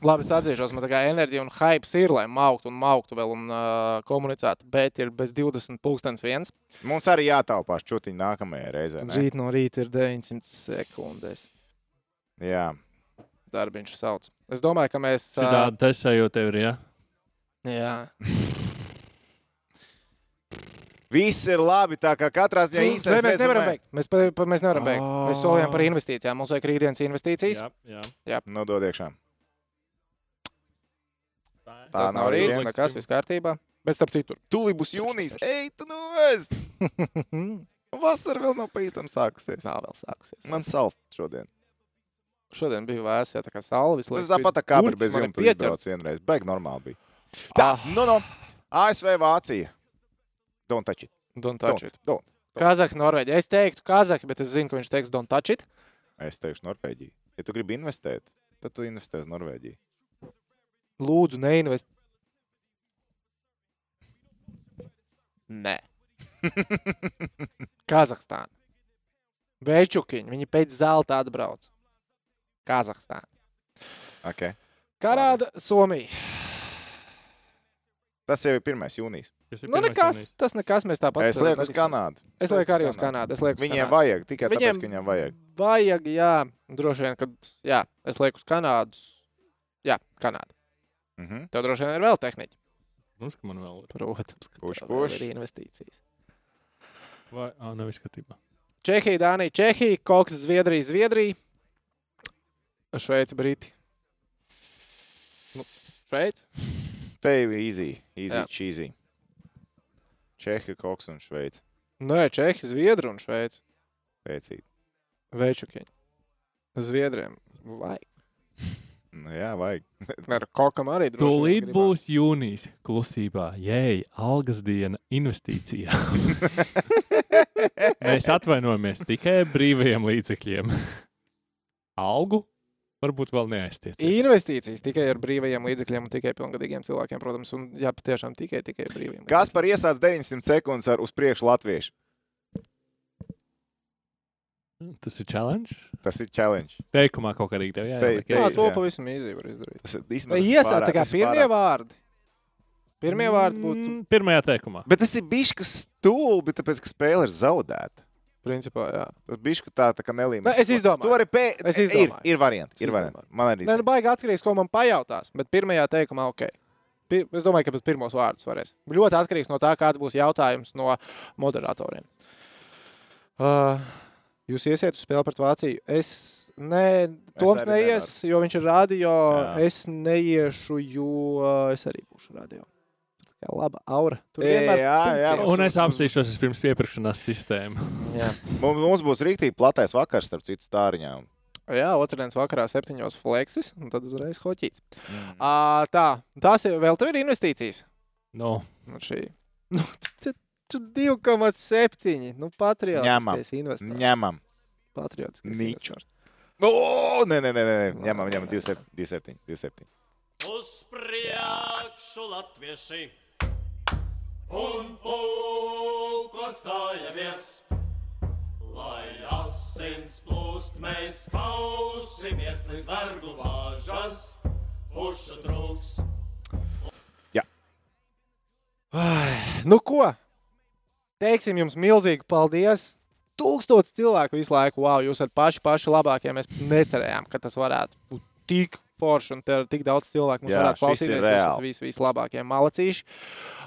Labi, es atzīšos, man tā kā enerģija un hype ir, lai mauktu un mauktu vēl un uh, komunicētu, bet ir bez 20 pulkstens viens.
Mums arī jātaupās čūtiņi nākamajai reizē.
Tad
ne?
rīt no rīta ir 900 sekundes.
Jā,
Darbiņš sauc. Es domāju, ka mēs.
Tā...
Uh,
Tāda tesējo tev ir, jā.
jā,
viss ir labi. Tā kā katrā ziņā
Nu, Nē,
īstenībā
mēs nevaram beigt. Mēs, pa, pa, mēs nevaram beigt. Mēs
Ā.
solījām par investīcijām. Mums vajag rītdienas investīcijas.
jā, jā.
Nodod Nu, iekšā.
Tā.
Tā
Tas nav
nav
rīts,
rīta.
rītdien.
nekas, viss kārtībā. Bet starp citu,
Tūlīt būs jūnijas. Ej, tu nu vēst!
nav
Vasara vēl nav pa īstam sākusies.
vēl sākusies.
Man salst šodien.
nu, Šodien bija vēsā, tā kā saule visu
Tas
laiku.
tāpat tā kā bija bez jumta. Tur
pietiek.
iebrauc vienreiz. Baig normāli bija. Tā,
Ah.
nu, nu. ASV Vācija. Don't touch it.
Don't touch
Don't,
it.
don't.
Kazahi, Norvēģi. Es teiktu, Kazahi, bet es zinu, ka viņš teiks, don't touch it.
Es teikšu Norvēģiju. Ja tu gribi investēt, tad tu investē uz Norvēģiju.
Lūdzu, neinvestē. Nē, Kazahstāna. Vēčukiņi, viņi pēc zelta atbrauc. Kazahstāna.
Okay.
Karāda, Somija.
Tas jau ir 1. jūnijas.
Nu, nekas, tas nekas, mēs tāpat.
Es lieku uz Kanādu.
Es lieku arī uz Kanādu. Es lieku uz
Viņiem
Kanādu.
vajag tikai viņiem...
Viņiem-
tāpēc, ka viņiem vajag.
vajag, jā, droši vien, kad, jā, es lieku uz Kanādu. Jā, Kanādu.
Mm -hmm.
Tev droši vien ir vēl tehniķi.
Mums, ka Nu, man vēl ir.
Protams, ka
Puš,
tev vēl
puš.
ir investīcijas.
Vai, ā, nav izskatībā.
Čehija, Dānija, Čehija, Koks, Zviedrija, Zviedrija, Šveice, Briti. Nu, Šveice.
Te ir easy, easy,
Jā.
cheesy. Čehi, Koks un Šveice.
Nē, Čehija, Zviedrija un Šveice.
Pēcīt.
Večukiņi. Zviedriem. Vai.
Nu, jā, vajag.
Ar kokam arī droši. vien
Tūlīt
gribās.
būs jūnijas klusībā. Jēj, algas diena investīcijā. Mēs atvainojamies tikai brīvajiem līdzekļiem. Algu varbūt vēl neaiztiecam.
Investīcijas tikai ar brīvajiem līdzekļiem un tikai pilngadīgiem cilvēkiem, protams, un jā, patiešām tikai, tikai brīviem.
Kas par iesācis 900 sekundes ar uz priekšu latviešu?
Tas ir challenge.
Tas ir challenge.
Teikumā kaut kā arī tev
Te-
jāieliek.
te-
Jā, to
jā.
pavisam īsi var izdarīt.
Tas ir īstenībā.
Vai
tas ir
Iesākt tā
pārāk-
kā
tas ir
pirmie
pārāk-
vārdi. Pirmie vārdi būtu,
Mm, Pirmajā teikumā.
Bet tas ir bijis kas stulbi, tāpēc ka spēle ir zaudēta.
principā, jā.
Tas bija tā, tā kā
Nē,
nelīmīgs.
Nu, es izdomāju.
To arī pēc.
Es
e, ir,
izdomāju.
ir variants.
Es
Ir variants.
izdomāju.
Man arī.
Nē, nu, baigi atkarīgs, ko man pajautās. Bet pirmajā teikumā, ok. Pi es domāju, ka pat pirmos vārdus varēs. Ļoti atkarīgs no tā, kāds būs jautājums no moderatoriem. Uh, jūs iesiet uz spēli pret Vāciju. Es ne, Toms
arī
neies, jo viņš ir radio.
Jā.
Jā. Es neiešu, jo es arī būšu radio. Tā kā laba aura. Tur
Jā,
vienmēr
jā, jā,
pimpies.
Un es apstīšos uz pirms piepirkšanās sistēmu.
jā.
Mums, mums būs rīktīgi platais vakars starp citu stāriņām.
jā, otrdienas vakarā septiņos fleksis, un tad uzreiz hoķīts. Mm. Uh, tā, tās ir, vēl tev ir investīcijas.
No.
Nu, šī. Nu, t- t- tu 2,7. Nu, patriotiskais investors.
Ņemam.
Patriotiskais
Niču.
investors.
O, nē, nē, nē, nē, nē. ņemam, ņemam, 27, 27.
Uz priekšu latvieši un pulko stājamies, lai asins plūst, mēs kausimies līdz vergu vāžas, pušu trūks.
Nu, ko? Teiksim jums milzīgu paldies. Tūkstots cilvēku visu laiku. Wow, jūs esat paši, paši labākie. Mēs necerējām, ka tas varētu būt tik forši un te ir tik daudz cilvēku. Mums
Jā,
varētu
šis ir
klausīties. Jūs esat
reāli.
visi, visi labākie malacīši.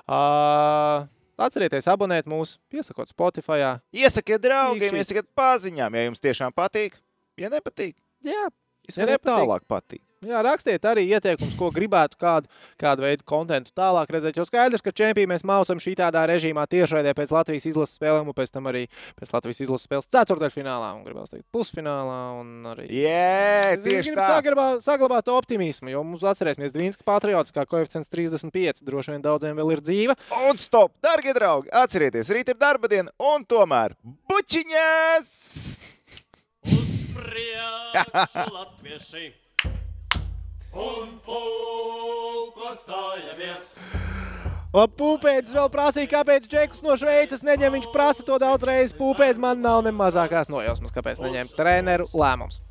Uh, atcerieties, abonēt mūs, piesakot Spotify.
Iesakiet draugiem,
Īkšķi.
iesakiet paziņām, ja jums tiešām patīk. Ja nepatīk,
Jā,
jūs
Ja
varat
nepatīk.
tālāk patīk.
Nu Jā, rakstiet arī ieteikumus, ko gribētu, kādu, kādu veidu kontekstu tālāk redzēt. Jo skaidrs, ka čempionu mēs mācām šī tādā režīmā tiešraidē pēc Latvijas izlases spēlēm, un pēc tam arī pēc Latvijas izlases spēles ceturdaļfinālā, un gribēs teikt, pusfinālā. un Arī...
Jā,
Es
tieši
gribu
tā.
saglabāt, saglabāt optimismu, jo mums atcerēsimies, ka Dienvidas patriotiskā koeficients 35 droši vien daudziem vēl ir dzīva.
Un stop, darbie draugi, atcerieties, rīt ir darba diena, un tomēr bučiņās!
Uz priekšu latvieši un pulko stājamies.
Un Pūpēdis vēl prasīja, kāpēc Džekus no Šveices neņem. Viņš prasa to daudz reizes. Pūpēdis man nav ne mazākās nojausmas, kāpēc neņem treneru lēmums.